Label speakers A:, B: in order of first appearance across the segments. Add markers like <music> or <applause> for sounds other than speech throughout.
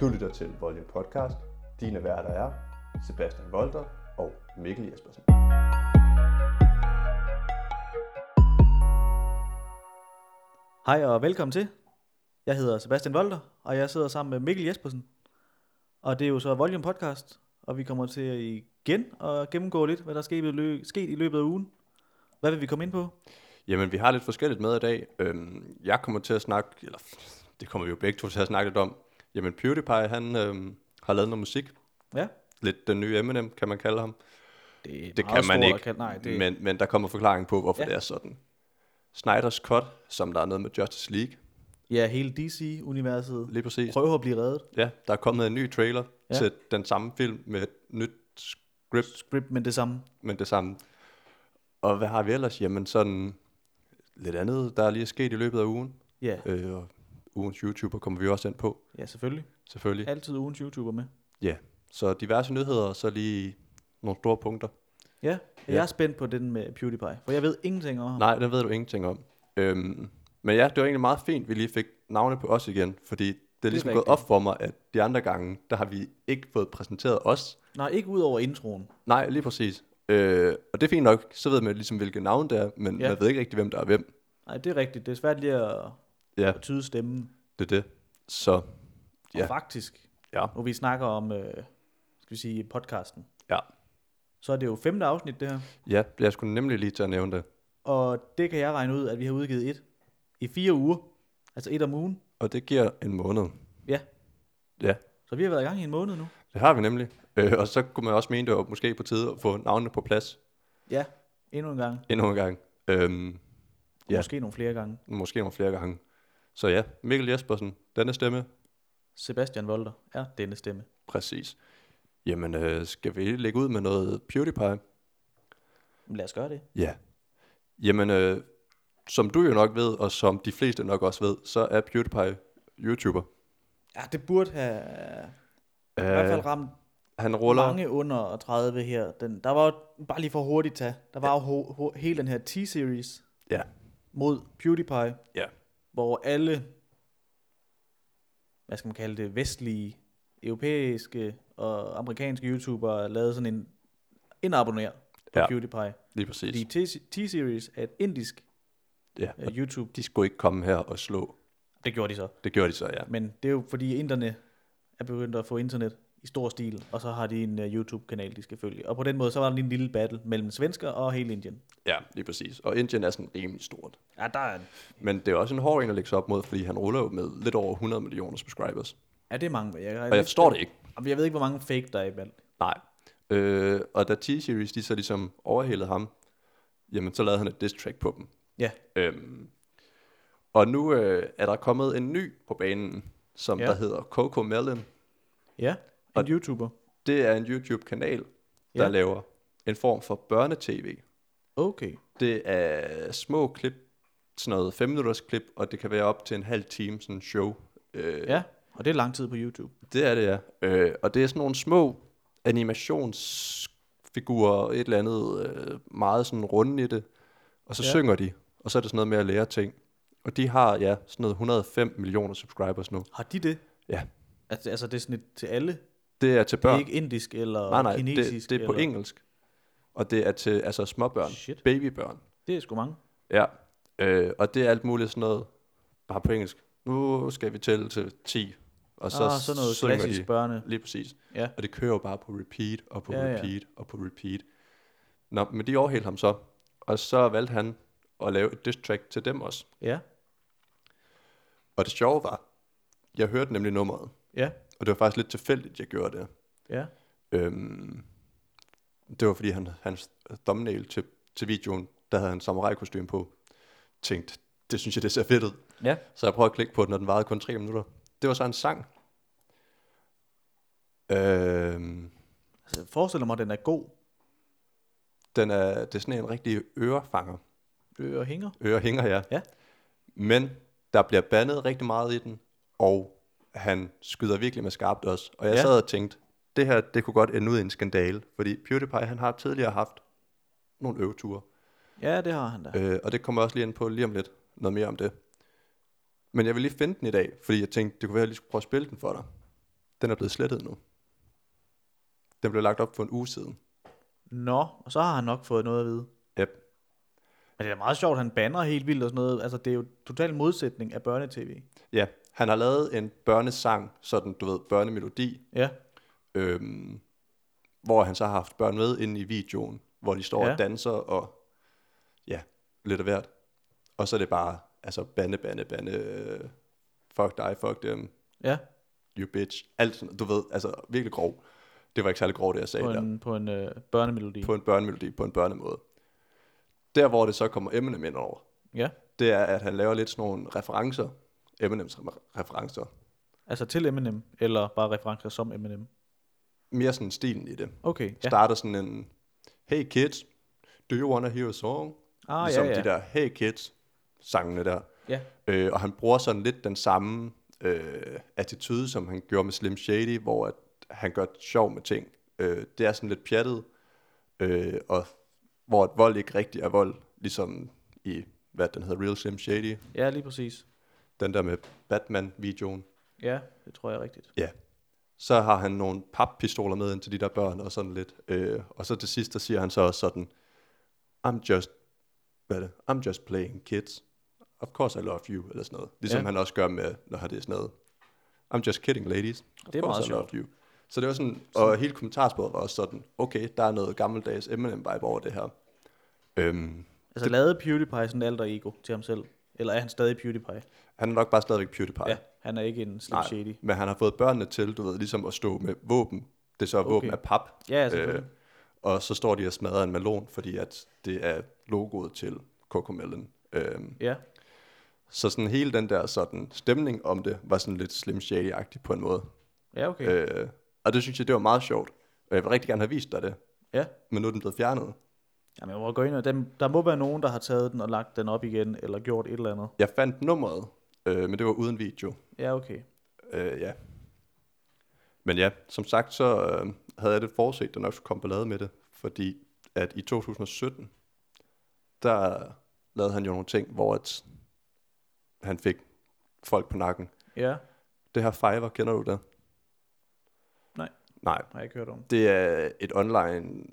A: Du lytter til Volume Podcast. Dine værter er Sebastian Volter og Mikkel Jespersen.
B: Hej og velkommen til. Jeg hedder Sebastian Volter, og jeg sidder sammen med Mikkel Jespersen. Og det er jo så Volume Podcast, og vi kommer til igen at gennemgå lidt, hvad der er sket i lø- sket i løbet af ugen. Hvad vil vi komme ind på?
A: Jamen, vi har lidt forskelligt med i dag. Øhm, jeg kommer til at snakke, eller det kommer vi jo begge to til at snakke lidt om. Jamen, PewDiePie, han øhm, har lavet noget musik.
B: Ja,
A: Lidt den nye Eminem, kan man kalde ham.
B: det, er
A: Det
B: meget
A: kan man
B: stort
A: ikke,
B: at kalde- Nej, det, Men...
A: men, men der kommer forklaring på, hvorfor ja.
B: Ja.
A: det er sådan. Snyder's Cut, som der er noget med Justice League,
B: Ja, hele DC-universet
A: lige præcis.
B: prøver at blive reddet.
A: Ja, der er kommet en ny trailer ja.
B: Ja.
A: til den samme film med et nyt script,
B: Script, men det samme.
A: men det samme. Og hvad har vi ellers? Jamen sådan lidt andet, der lige er sket i løbet af ugen.
B: Ja,
A: Øh, og ugens YouTuber kommer vi også ind på,
B: ja selvfølgelig.
A: selvfølgelig. Ja.
B: Altid ugens YouTuber med.
A: ja. Så diverse nyheder, og så lige nogle store punkter.
B: Ja,
A: Ja.
B: jeg er spændt på den med PewDiePie, for jeg ved ingenting om ham.
A: Nej, den ved du ingenting om. Øhm, men ja, det var egentlig meget fint, vi lige fik navne på os igen, fordi det er ligesom det er gået
B: rigtigt.
A: op for mig, at de andre gange, der har vi ikke fået præsenteret os.
B: Nej, ikke ud over introen.
A: Nej, lige præcis. Øh, og det er fint nok, så ved man ligesom, hvilke navn det er, men ja.
B: Ja.
A: man ved ikke rigtig, hvem der er hvem.
B: Nej, det er rigtigt. Det er svært lige at,
A: Ja.
B: at tyde stemmen.
A: Det er det. Så
B: Og
A: Ja.
B: ja. faktisk,
A: ja,
B: når vi snakker om, øh, skal vi sige, podcasten,
A: ja.
B: så er det jo femte afsnit det her.
A: Ja, jeg skulle nemlig lige til at nævne det.
B: Og det kan jeg regne ud, at vi har udgivet et i fire uger. Altså et om ugen.
A: Og det giver en måned.
B: Ja.
A: Ja,
B: Så vi har været i gang i en måned nu.
A: det har vi nemlig. Øh, og så kunne man også mene, det var måske på tide at få navnene på plads
B: Ja, endnu en gang.
A: endnu en gang. Øhm,
B: Og
A: Ja.
B: ja. Måske nogle flere gange.
A: måske nogle flere gange. Så ja, Mikkel Jespersen, denne stemme.
B: Sebastian Volter er denne stemme.
A: Præcis. Jamen, øh, skal vi lægge ud med noget PewDiePie?
B: Men Lad os gøre det.
A: Ja. Jamen, øh, som du jo nok ved, og som de fleste nok også ved, så er PewDiePie YouTuber.
B: Ja, det burde have i hvert fald ramt
A: Øh, han ruller...
B: mange under 30 her. Den, der var jo, bare lige for hurtigt tage, der var jo ho- ho- hele den her T-series
A: Ja.
B: mod PewDiePie,
A: Ja.
B: hvor alle, hvad skal man kalde det, vestlige, europæiske og amerikanske YouTubere lavede sådan en indabonner på
A: Ja.
B: ja. PewDiePie.
A: Lige præcis.
B: Fordi T- T-series er et indisk
A: Ja.
B: uh, YouTube.
A: De skulle ikke komme her og slå.
B: Det gjorde de så.
A: Det gjorde de så, ja.
B: Men det er jo fordi inderne er begyndt at få internet i stor stil, og så har de en uh, YouTube-kanal, de skal følge. Og på den måde, så var der lige en lille battle mellem svensker og hele Indien.
A: Ja, lige præcis. Og Indien er sådan rimelig stort.
B: Ja, der er,
A: Men det er også en hård en at lægge sig op mod, fordi han ruller jo med lidt over 100 millioner subscribers.
B: ja det er mange. Jeg,
A: Og jeg forstår det ikke.
B: Jeg ved ikke, hvor mange fake der er i blandt.
A: Nej. Øh, og da T-Series de så ligesom overhældede ham, jamen så lavede han et diss track på dem.
B: Ja,
A: Øhm, og nu øh, er der kommet en ny på banen, som ja.
B: Ja.
A: der hedder Coco Melon.
B: ja. En YouTuber.
A: Det er en YouTube-kanal, der ja.
B: Ja.
A: laver en form for børnetv.
B: Okay.
A: Det er små klip, sådan noget 5 minutters klip, og det kan være op til en halv time sådan en show. Øh,
B: Ja, og det er lang tid på YouTube.
A: Det er det, ja. Øh, og det er sådan nogle små animationsfigurer, og et eller andet øh, meget sådan runde i det. Og så ja.
B: Ja.
A: synger de, og så er det sådan noget med at lære ting. Og de har, ja, sådan noget 105 millioner subscribers nu.
B: Har de det?
A: Ja,
B: Altså, altså det er sådan et til alle?
A: det er til
B: Det er
A: børn.
B: ikke indisk eller
A: nej, nej,
B: kinesisk?
A: det, det er på
B: eller...
A: engelsk. Og det er til altså småbørn,
B: Shit,
A: babybørn.
B: det er sgu mange.
A: Ja, øh, og det er alt muligt sådan noget, bare på engelsk. Nu skal vi tælle til 10, og så
B: ah, sådan noget
A: synger
B: klassisk
A: de.
B: børne.
A: Lige præcis.
B: Ja.
A: Og det kører jo bare på repeat, og på
B: Ja, ja.
A: repeat, og på repeat. Nå, men de overhældte ham så. Og så valgte han at lave et diss track til dem også.
B: Ja,
A: Og det sjove var, jeg hørte nemlig nummeret.
B: ja,
A: Og det var faktisk lidt tilfældigt, jeg gjorde det.
B: ja.
A: Øhm, det var fordi, han, hans thumbnail til, til videoen, der havde han samurai kostume på, tænkte, det synes jeg, det ser fedt ud.
B: Ja.
A: Så jeg prøvede at klikke på den, og den varede kun tre minutter. Det var så en sang. Øhm,
B: Altså, jeg forestiller mig, at den er god.
A: den er, det er sådan en rigtig ørefanger.
B: Øer øh, hænger.
A: Øre hænger, ja.
B: Ja.
A: Men der bliver bandet rigtig meget i den, og han skyder virkelig med skarpt også. Og jeg ja.
B: Ja.
A: sad og tænkte, det her, det kunne godt ende ud i en skandale, fordi PewDiePie, han har tidligere haft nogle øveture,
B: Ja, det har han da.
A: øh, og det kommer jeg også lige ind på lige om lidt, noget mere om det. Men jeg vil lige finde den i dag, fordi jeg tænkte, det kunne være, at jeg lige skulle prøve at spille den for dig. Den er blevet slettet nu. Den blev lagt op for en uge siden.
B: Nå, og så har han nok fået noget at vide.
A: Yep.
B: Men det er da meget sjovt, at han banner helt vildt og sådan noget. Altså, det er jo total modsætning af børnetv.
A: Ja, han har lavet en børnesang, sådan du ved, børnemelodi,
B: Ja,
A: øhm, hvor han så har haft børn med inde i videoen, hvor de står ja.
B: Ja.
A: og danser og ja, lidt af hvert. Og så er det bare, altså bande, bande, bande, øh, fuck dig, fuck dem,
B: ja.
A: you bitch, alt sådan, du ved, altså virkelig grov. Det var ikke særlig grov, det jeg sagde
B: På
A: der.
B: en, på en øh, børnemelodi.
A: På en børnemelodi, på en børnemåde. Der, hvor det så kommer Eminem ind over,
B: Ja,
A: det er, at han laver lidt sådan nogle referencer, Eminems re- referencer,
B: altså til Eminem, eller bare referencer som Eminem.
A: mere sådan stilen i det.
B: Okay, ja.
A: starter sådan en, hey kids, do you wanna hear a song?
B: Ah,
A: ligesom
B: ja, ja.
A: de der hey kids sangene der.
B: ja.
A: Øh, og han bruger sådan lidt den samme øh, attitude, som han gjorde med Slim Shady, hvor at han gør sjov med ting. Øh, det er sådan lidt pjattet, øh, og hvor at vold ikke rigtig er vold, ligesom i, hvad den hedder, Real Slim Shady,
B: Ja, lige præcis.
A: den der med Batman-videoen.
B: Ja, det tror jeg er rigtigt.
A: Ja. Så har han nogle pappistoler med ind til de der børn og sådan lidt. Øh, og så til sidst, der siger han så også sådan, I'm just, hvad er det? I'm just playing kids. Of course I love you, eller sådan noget. Ligesom
B: Ja.
A: ja. han også gør med, når han det er sådan noget. I'm just kidding, ladies. Of
B: Det er meget
A: course I love you. Så det var sådan, og hele kommentarsporet var også sådan, okay, der er noget gammeldags Eminem-vibe over det her. Øhm,
B: Altså det... lavede PewDiePie sådan alter ego til ham selv? Eller er han stadig PewDiePie?
A: han er nok bare stadigvæk PewDiePie.
B: Ja, han er ikke en slim
A: Nej,
B: shady.
A: men han har fået børnene til, du ved, ligesom at stå med våben. Det er så okay. våben af pap.
B: Ja, ja, selvfølgelig.
A: Øh, og så står de og smadrer en melon, fordi at det er logoet til Cocomelon. Øh,
B: Ja,
A: så sådan hele den der sådan stemning om det, var sådan lidt Slim Shady-agtig på en måde.
B: ja okay. Øh.
A: Øh, og det synes jeg, det var meget sjovt. Og jeg vil rigtig gerne have vist dig det,
B: Ja.
A: men nu er den blevet fjernet.
B: Jamen, jeg må gå ind og... Den, der må være nogen, der har taget den og lagt den op igen, eller gjort et eller andet.
A: Jeg fandt nummeret, øh, men det var uden video.
B: Ja, okay.
A: Øh, ja. Men ja, som sagt, så øh, havde jeg det forudset, der nok skulle komme ballade med det, fordi at i 2017, der lavede han jo nogle ting, hvor at han fik folk på nakken.
B: Ja,
A: Det her Fiverr, kender du det?
B: Nej.
A: Nej,
B: har jeg ikke hørt om.
A: det er et online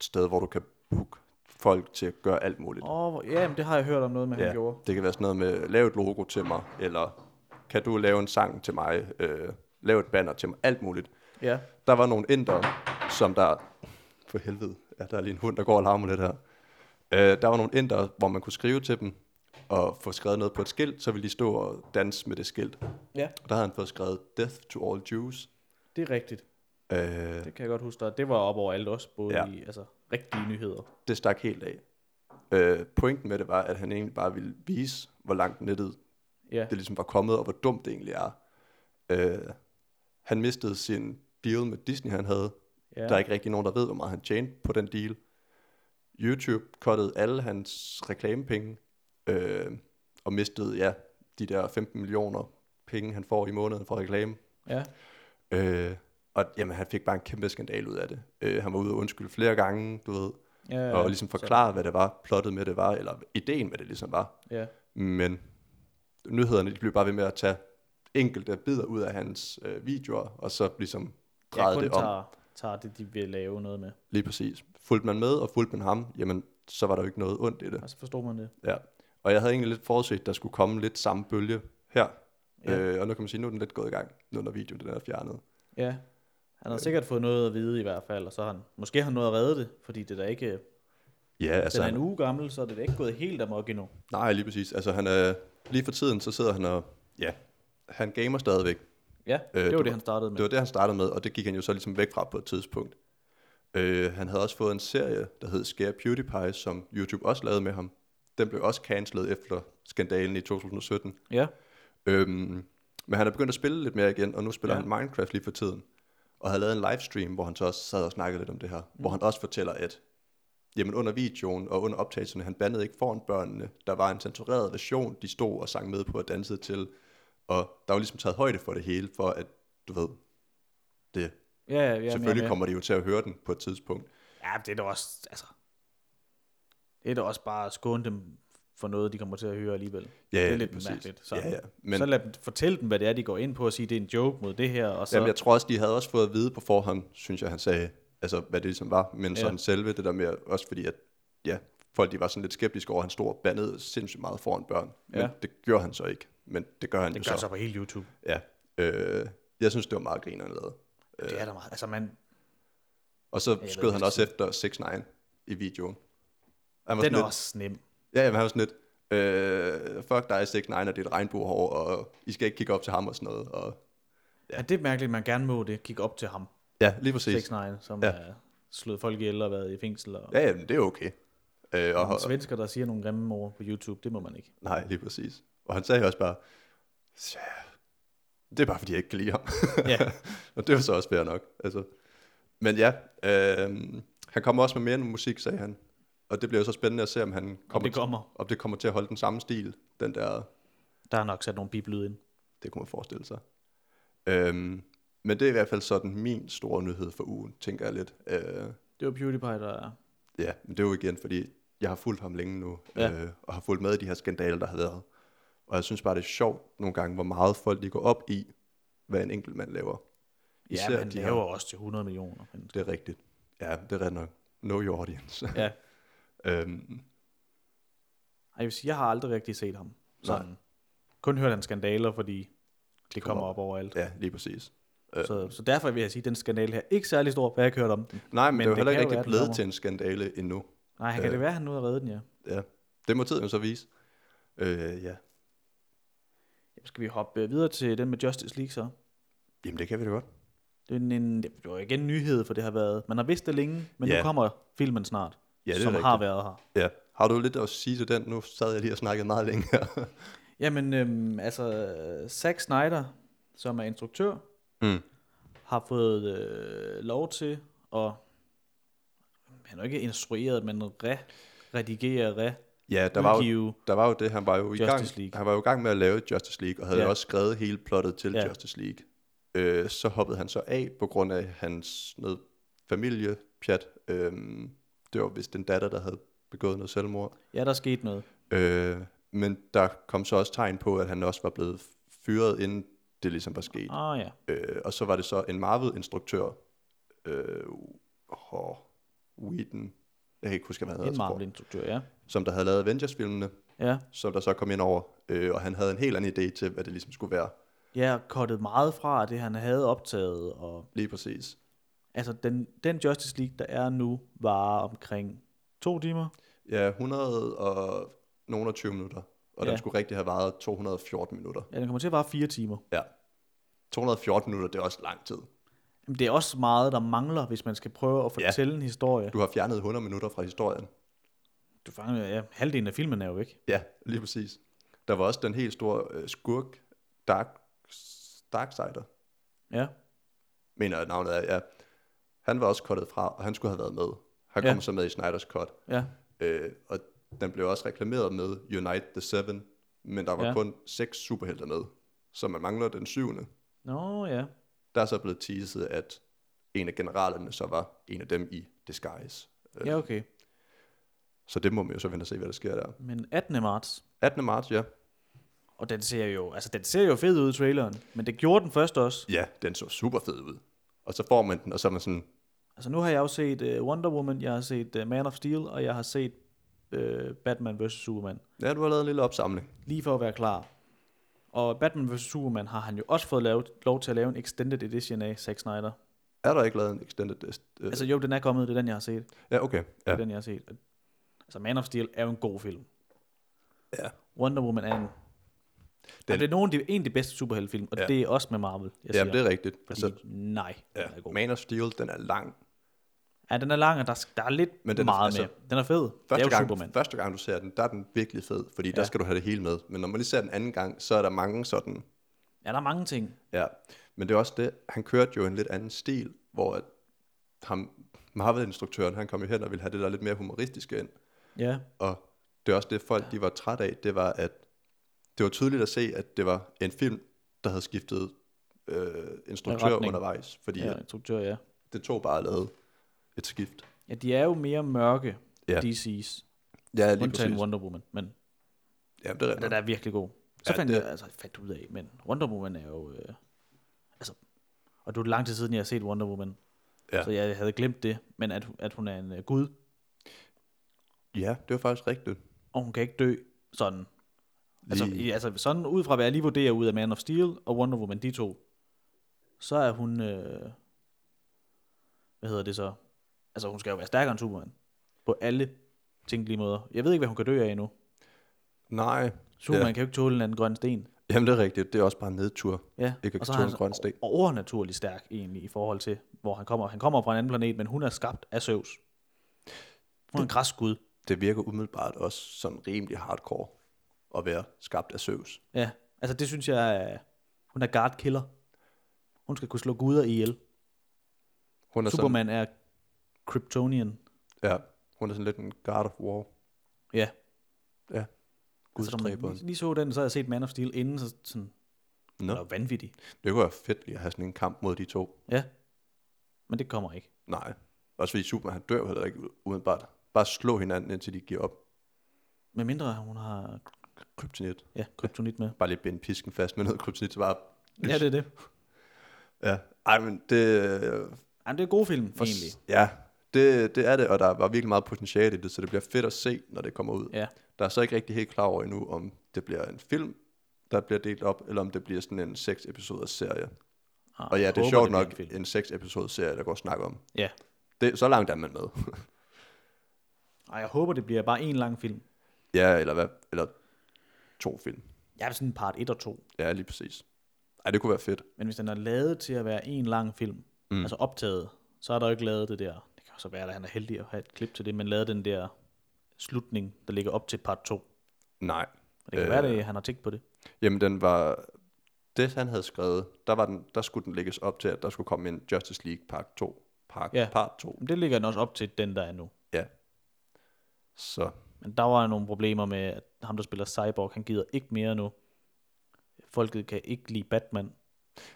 A: sted, hvor du kan booke folk til at gøre alt muligt.
B: Åh, oh, ja, men det har jeg hørt om noget med, han gjorde.
A: Det kan være sådan noget med, lav et logo til mig, eller kan du lave en sang til mig, øh, lav et banner til mig, alt muligt.
B: Ja,
A: der var nogle indere, som der... For helvede, ja, der er lige en hund, der går og larmer lidt her. Øh, der var nogle indere, hvor man kunne skrive til dem og få skrevet noget på et skilt, så ville de stå og danse med det skilt.
B: ja,
A: Og der havde han fået skrevet Death to all Jews.
B: det er rigtigt.
A: Øh,
B: Det kan jeg godt huske dig. Det var op over alt også, både
A: Ja.
B: ja. i altså, rigtige nyheder.
A: det stak helt af. Øh, pointen med det var, at han egentlig bare ville vise, hvor langt nettet
B: Ja,
A: det ligesom var kommet, og hvor dumt det egentlig er. Øh, han mistede sin deal med Disney, han havde,
B: ja.
A: Ja. Der er ikke rigtig nogen, der ved, hvor meget han tjente på den deal. YouTube kottede alle hans reklamepenge øh, og mistede ja, de der 15 millioner penge, han får i måneden fra reklame.
B: ja.
A: Øh, og jamen, han fik bare en kæmpe skandal ud af det. Øh, han var ude og undskylde flere gange, du ved,
B: Ja,
A: ja,
B: ja,
A: og ligesom forklare, hvad det var, plottet med det var, eller ideen med det ligesom var.
B: Ja,
A: Men nyhederne de blev bare ved med at tage enkelte bidder ud af hans øh, videoer, og så ligesom
B: jeg
A: drejede
B: kun
A: det om.
B: tager, tager det, de vil lave noget med.
A: Lige præcis. Fulgte man med, og fulgte man ham, jamen, så var der jo ikke noget ondt i det.
B: Og så Altså, forstår man det.
A: Ja. Og jeg havde egentlig lidt forudset, der skulle komme lidt samme bølge her.
B: Ja.
A: Ja. Øh, og nu kan man sige, nu er den lidt gået i gang, nu når videoen den er fjernet.
B: Ja. Han har
A: Øh.
B: sikkert fået noget at vide i hvert fald, og så har han, måske har han nået at redde det, fordi det er da ikke, den
A: Ja, altså,
B: er en
A: han,
B: uge gammel, så er det da ikke gået helt amok endnu.
A: nej, lige præcis. Altså, han er, lige for tiden, så sidder han og, ja, han gamer stadigvæk.
B: Ja, øh, det var det, han startede med.
A: Det var det, han startede med, og det gik han jo så ligesom væk fra på et tidspunkt. Øh, han havde også fået en serie, der hed Scare PewDiePie, som YouTube også lavede med ham. Den blev også cancelet efter skandalen i 2017.
B: Ja,
A: Øhm, men han er begyndt at spille lidt mere igen, og nu spiller
B: Ja.
A: ja. han Minecraft lige for tiden. Og har lavet en livestream, hvor han så også sad og snakkede lidt om det her. Mm. Hvor han også fortæller, at jamen under videoen og under optagelserne, han bandede ikke foran børnene. Der var en censureret version, de stod og sang med på og dansede til. Og der var ligesom taget højde for det hele, for at, du ved, det.
B: ja, ja. ja
A: Ja, Selvfølgelig
B: ja.
A: kommer de jo til at høre den på et tidspunkt.
B: Ja, men det er da også, altså, det er da også bare at skåne dem for noget, de kommer til at høre alligevel.
A: Ja,
B: det er
A: ja,
B: lidt
A: præcis.
B: mærkeligt. Så,
A: Ja, ja.
B: men,
A: Men-
B: så lad dem fortælle dem, hvad det er, de går ind på, og sige, det er en joke mod det her, og så...
A: Jamen, jeg tror også, de havde også fået at vide på forhånd, synes jeg, han sagde, altså hvad det ligesom var, men
B: Ja.
A: ja. sådan selve det der med, også fordi at, ja, folk de var sådan lidt skeptiske over, at han stod og bandede sindssygt meget foran børn, men
B: Ja.
A: det gjorde han så ikke, men det gør han
B: det
A: jo
B: gør
A: så.
B: så på hele YouTube.
A: Ja. Øh, jeg synes, det var meget grinerende lavet.
B: Øh. Det er der meget. Altså, man,
A: Og så
B: ved
A: skød han
B: ikke,
A: også efter 6 9 i videoen. Han var
B: den
A: sådan
B: er
A: lidt,
B: også nem.
A: Ja, jamen, han var sådan lidt, øh, fuck dig 6 9 og det er et regnbuehår, og I skal ikke kigge op til ham og sådan noget. Og,
B: Ja. Er det er mærkeligt, at man gerne må det? Kigge op til ham,
A: ja, lige præcis.
B: 6 9 som ja.
A: Ja.
B: er slået folk ihjel og været i fængsel. Og,
A: Ja, jamen, det er okay. Øh, og,
B: og svensker, der siger nogle grimme ord på YouTube, det må man ikke.
A: Nej, lige præcis. Og han sagde også bare, "Tja, det er bare fordi, jeg ikke kan lide ham. <laughs>
B: Ja.
A: og det var så også fair nok. Altså. Men ja, øh, han kommer også med mere end musik, sagde han. Og det bliver jo så spændende at se, om han
B: Om
A: kommer,
B: det kommer.
A: om det kommer til at holde den samme stil, den der,
B: Der er nok sat nogle bibelyde ind.
A: det kunne man forestille sig. Øhm, men det er i hvert fald sådan min store nyhed for ugen, tænker jeg lidt. Øh,
B: Det var PewDiePie, der er...
A: ja, men det er jo igen, fordi jeg har fulgt ham længe nu,
B: Ja.
A: ja. øh, og har fulgt med i de her skandaler, der har været. Og jeg synes bare, det er sjovt nogle gange, hvor meget folk de går op i, hvad en enkelt mand laver.
B: Ja, men han
A: de her-
B: laver også til 100 millioner. Men,
A: Det er rigtigt. Ja, det er rigtigt nok. Know your audience.
B: ja.
A: <laughs> øhm,
B: Ej, Jeg, vil sige, jeg har aldrig rigtig set ham. Sådan. Kun hørt hans skandaler, fordi det kommer op overalt.
A: ja, lige præcis.
B: Ja. Så, så derfor vil jeg sige, at den skandale her ikke særlig stor, hvad jeg har hørt om den.
A: Nej, men, men det
B: Men
A: er jo
B: det
A: heller ikke
B: kan jo være,
A: rigtig
B: den
A: blevet
B: kommer.
A: til en skandale endnu.
B: Nej, kan
A: Øh.
B: det være, at han nu har reddet den, ja.
A: Ja, det må tiden jo så vise. Øh, ja,
B: Jamen, Skal vi hoppe øh, videre til den med Justice League så?
A: jamen det kan vi da godt.
B: Det er en- en, det var igen en nyhed, for det har været... Man har vidst det længe, men nu
A: Ja.
B: kommer filmen snart,
A: Ja, det er
B: som
A: rigtigt.
B: har været her.
A: Ja. Har du lidt at sige til den? Nu sad jeg lige og snakkede meget længe her. <laughs>
B: Jamen, øhm, altså, øh, Zack Snyder, som er instruktør,
A: mm.
B: har fået øh, lov til at... Han er jo ikke instrueret, men re redigere, re
A: Ja, der
B: der
A: var jo
B: udgive.
A: Der var jo det, han var jo i
B: Justice
A: gang,
B: League.
A: han var jo i gang med at lave Justice League, og havde
B: Ja.
A: ja. også skrevet hele plottet til
B: Ja.
A: ja. Justice League. Øh, så hoppede han så af på grund af hans noget familiepjat. Øh, det var vist en datter, der havde begået noget selvmord.
B: Ja, der skete noget.
A: Øh, men der kom så også tegn på, at han også var blevet fyret, inden det ligesom var sket.
B: Ah ja,
A: Øh, og så var det så en Marvel-instruktør, øh, oh, Whedon, jeg kan ikke huske, hvad han
B: en
A: hedder, altså,
B: Marvel-instruktør, ja.
A: som der havde lavet Avengers-filmene
B: Ja,
A: som der så kom ind over, øh, og han havde en helt anden idé til, hvad det ligesom skulle være.
B: ja og kottet meget fra det, han havde optaget. Og,
A: Lige præcis.
B: altså, den, den Justice League, der er nu, varer omkring to timer.
A: Ja, 100 og nogle og 20 minutter, og ja.
B: Ja.
A: den skulle rigtig have varet 214 minutter.
B: Ja, den kommer til at vare fire timer.
A: Ja. 214 minutter, det er også lang tid.
B: Jamen, det er også meget, der mangler, hvis man skal prøve at fortælle ja. en historie.
A: Du har fjernet 100 minutter fra historien.
B: Du fanger, ja, halvdelen af filmen er jo væk.
A: Ja, lige præcis. Der var også den helt store øh, skurk, Dark, Darksider,
B: Ja,
A: mener jeg navnet er, ja. Han var også kottet fra, og han skulle have været med. Han
B: Ja.
A: ja. kom så med i Snyders cut.
B: ja.
A: Øh, og den blev også reklameret med Unite the Seven, men der var
B: Ja.
A: ja. kun seks superhelte med, så man mangler den syvende.
B: Nå, ja.
A: Der er så blevet teaset, at en af generalerne så var en af dem i disguise. Øh,
B: Ja, okay.
A: Så det må man jo så vente og se, hvad der sker der.
B: Men 18. marts,
A: 18. marts, ja.
B: Og den ser jo, altså den ser jo fed ud i traileren, men det gjorde den først også.
A: Ja, den så super fed ud. Og så får man den, og så er man sådan,
B: Altså nu har jeg jo set uh, Wonder Woman, jeg har set uh, Man of Steel, og jeg har set uh, Batman vs. Superman.
A: ja, du har lavet en lille opsamling.
B: Lige for at være klar. Og Batman vs. Superman har han jo også fået lavet, lov til at lave en extended edition af Zack Snyder.
A: Er der ikke lavet en extended list? Øh,
B: Altså jo, den er kommet, det er den, jeg har set. Det
A: ja, okay.
B: er
A: Ja.
B: den, jeg har set. Altså Man of Steel er jo en god film.
A: Ja.
B: Wonder Woman er en... Den... Det er nogen, det er en af de bedste superheltefilm, og ja.
A: Ja.
B: det er også med Marvel, jeg
A: ja,
B: siger.
A: det er rigtigt.
B: Fordi,
A: Altså,
B: altså, nej, ja. den er
A: ja.
B: god.
A: Man of Steel, den er lang.
B: Ja, den er lang, og der, der er lidt men
A: Men
B: den
A: den er-
B: meget
A: altså,
B: med. Den er fed. det er
A: Første
B: jo
A: gang,
B: Superman.
A: første gang du ser den, der er den virkelig fed, fordi ja.
B: Ja.
A: der skal du have det hele med. Men når man lige ser den anden gang, så er der mange sådan,
B: Ja, der er mange ting.
A: ja. Men det er også det, han kørte jo en lidt anden stil, hvor at ham, Marvel-instruktøren, han kom jo hen og ville have det der lidt mere humoristiske ind.
B: Ja,
A: Og det er også det, folk de var træt af, det var, at det var tydeligt at se, at det var en film, der havde skiftet øh, instruktør
B: Retning.
A: undervejs, fordi
B: ja.
A: ja.
B: instruktør, ja.
A: det tog bare at lave et skift.
B: Ja, de er jo mere mørke, ja.
A: Ja.
B: DC's.
A: Ja, lige
B: Undtagen
A: præcis.
B: Wonder Woman. Men
A: Jamen, det er
B: Den
A: rigtigt.
B: er virkelig god. Så
A: Ja,
B: ja, fandt
A: det-
B: det... jeg altså, fandt ud af, men Wonder Woman er jo... Øh, altså, og det er jo lang tid siden, jeg har set Wonder Woman.
A: Ja.
B: Ja. Så jeg havde glemt det, men at, at hun er en øh, gud,
A: Ja, det var faktisk rigtigt.
B: og hun kan ikke dø sådan. Altså,
A: Lige-
B: i, altså sådan ud fra, hvad jeg lige vurderer ud af Man of Steel og Wonder Woman, de to, så er hun... Øh, hvad hedder det så? Altså, hun skal jo være stærkere end Superman. På alle tænkelige måder. Jeg ved ikke, hvad hun kan dø af endnu.
A: Nej,
B: Superman ja. kan jo ikke tåle en anden grøn sten.
A: jamen det er rigtigt. Det er også bare en nedtur.
B: Ja,
A: Ikke at
B: og så
A: tåle
B: er
A: en grøn sten.
B: o- overnaturligt stærk egentlig i forhold til, hvor han kommer. Han kommer fra en anden planet, men hun er skabt af Zeus. Hun er en græsgud.
A: Det virker umiddelbart også sådan rimelig hardcore at være skabt af Zeus.
B: Ja, altså det synes jeg, er- hun er guard killer. Hun skal kunne slå guder ihjel.
A: Hun er
B: Superman er Kryptonian.
A: Sådan, ja, hun er sådan lidt en guard of war.
B: Ja,
A: Ja,
B: altså, når man
A: gudstræberen.
B: lige, lige så den, så har jeg set Man of Steel inden, så sådan,
A: Nå.
B: no. er jo vanvittig.
A: Det kunne være fedt lige at have sådan en kamp mod de to.
B: Ja, men det kommer ikke.
A: Nej. Også fordi Superman, han dør jo heller ikke udenbart. Bare slå hinanden, indtil de giver op.
B: Med mindre hun har
A: Kryptonit.
B: ja, kryptonit med.
A: Bare lige binde pisken fast med noget kryptonit, så bare...
B: Ja, det er det.
A: Ja. Ej, men det... øh,
B: Jamen, det er en god film, egentlig.
A: Ja, det, det er det, og der var virkelig meget potentiale i det, så det bliver fedt at se, når det kommer ud.
B: Ja.
A: Der er så ikke rigtig helt klar over endnu, om det bliver en film, der bliver delt op, eller om det bliver sådan en seks episoders serie.
B: Ah,
A: Og ja,
B: jeg
A: det er
B: håber,
A: sjovt
B: bliver en
A: nok
B: film.
A: en seks episodes serie, der går at snakke om.
B: Ja.
A: Det, så langt er man med. <laughs>
B: Ej, jeg håber, det bliver bare en lang film.
A: ja, eller hvad? Eller to film.
B: Jeg er sådan part 1 og 2.
A: Ja, lige præcis. Ej, det kunne være fedt.
B: Men hvis den er lavet til at være en lang film,
A: Mm.
B: mm. altså optaget, så er der jo ikke lavet det der. Det kan også være, at han er heldig at have et klip til det, men lavet den der slutning, der ligger op til part 2.
A: Nej. Øh,
B: Og det kan øh. være, at han har tænkt på det.
A: Jamen, den var... Det, han havde skrevet, der, var den, der skulle den lægges op til, at der skulle komme en Justice League part 2. Part,
B: Ja.
A: part 2.
B: Men det ligger den også op til den, der er nu.
A: Ja. Så
B: Men der var nogle problemer med, at ham, der spiller Cyborg, han gider ikke mere nu. Folket kan ikke lide Batman.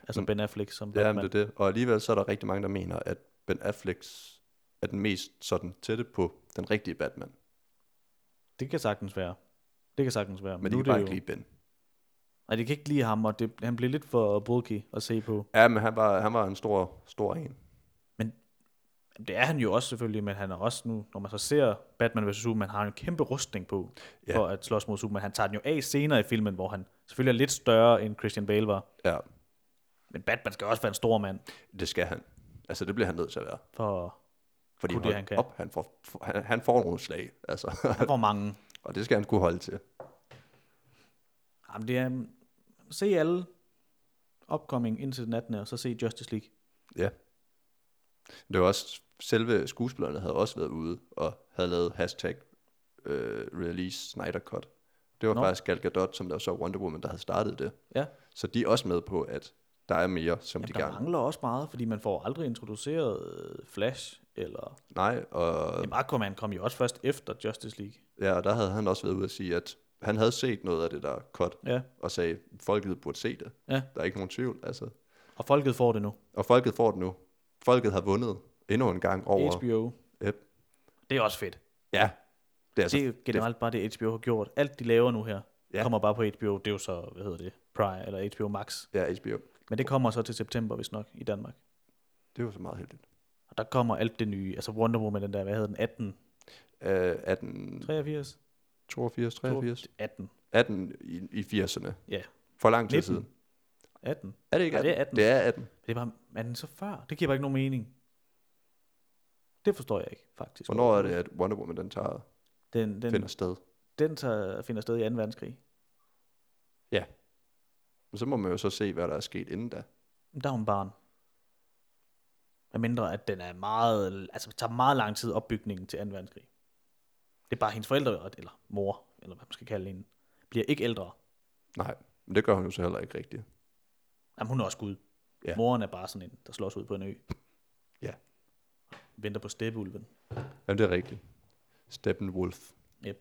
B: Altså
A: Mm.
B: Ben Affleck som
A: ja,
B: Batman.
A: men det er det. Og alligevel så er der rigtig mange, der mener, at Ben Affleck er den mest sådan tætte på den rigtige Batman.
B: det kan sagtens være. Det kan sagtens være.
A: Men
B: nu
A: de
B: er
A: kan bare ikke
B: det jo...
A: lide Ben.
B: Nej, de kan ikke lide ham, og det, han blev lidt for bulky at se på.
A: Ja, men han var, han var en stor, stor en.
B: Det er han jo også selvfølgelig, men han er også nu, når man så ser Batman vs. Superman, har han en kæmpe rustning på,
A: Ja.
B: ja. for at slås mod Superman. Han tager den jo af senere i filmen, hvor han selvfølgelig er lidt større, end Christian Bale var.
A: Ja,
B: Men Batman skal også være en stor mand,
A: det skal han. Altså, det bliver han nødt til at være.
B: for
A: Fordi
B: Kunne
A: hold
B: det, han kan.
A: Op, han, får, for, han, han får nogle slag, altså. <laughs>
B: han får mange.
A: og det skal han kunne holde til.
B: Jamen, det er, um, se alle upcoming indtil den 18. og så se Justice League.
A: Ja. Det var også, selve skuespillerne havde også været ude og havde lavet hashtag øh, release Snyder Cut. Det var Nå.
B: Nå.
A: faktisk Gal Gadot, som der så Wonder Woman, der havde startet det.
B: Ja.
A: Så de er også med på, at der er mere, som
B: Jamen,
A: de
B: der
A: gerne...
B: mangler også meget, fordi man får aldrig introduceret øh, Flash, eller...
A: Nej, og,
B: Jamen, Aquaman kom jo også først efter Justice League.
A: ja, og der havde han også været ude at sige, at han havde set noget af det der cut,
B: Ja,
A: og sagde, folket burde se det.
B: ja.
A: Der er ikke nogen tvivl, altså.
B: Og folket får det nu.
A: Og folket får det nu. Folket har vundet endnu en gang over...
B: HBO.
A: Yep.
B: Det er også fedt.
A: Ja, det er altså
B: det er jo generelt bare det, HBO har gjort. Alt de laver nu her,
A: Ja.
B: ja. kommer bare på HBO. Det er jo så, hvad hedder det, Prime eller HBO Max.
A: Ja, HBO.
B: Men det kommer så til september, hvis nok, i Danmark.
A: Det var så meget heldigt.
B: Og der kommer alt det nye. Altså Wonder Woman, den der, hvad hedder den, 18?
A: Øh, 18,
B: 83?
A: 82, 83,
B: 18.
A: 18 i, i 80'erne.
B: Ja.
A: For lang tid
B: 19.
A: siden.
B: 18.
A: Er det ikke
B: Nej,
A: 18?
B: det er
A: Det
B: 18.
A: er 18.
B: Det er bare, er den så før? Det giver bare ikke nogen mening. Det forstår jeg ikke, faktisk.
A: Hvornår er det, at Wonder Woman den tager,
B: Den, den,
A: finder sted?
B: den tager, finder sted i 2. verdenskrig.
A: Men så må man jo så se, hvad der er sket inden da.
B: Der er hun barn. Med mindre, at den er meget, altså det tager meget lang tid opbygningen til 2. verdenskrig. Det er bare hendes forældre, eller mor, eller hvad man skal kalde hende, bliver ikke ældre.
A: Nej, men det gør hun jo så heller ikke rigtigt.
B: Jamen, hun er også gud.
A: Ja.
B: Ja. Moren er bare sådan en, der slås ud på en ø.
A: Ja.
B: Venter på steppeulven.
A: Jamen, det er rigtigt. Steppenwolf.
B: Yep.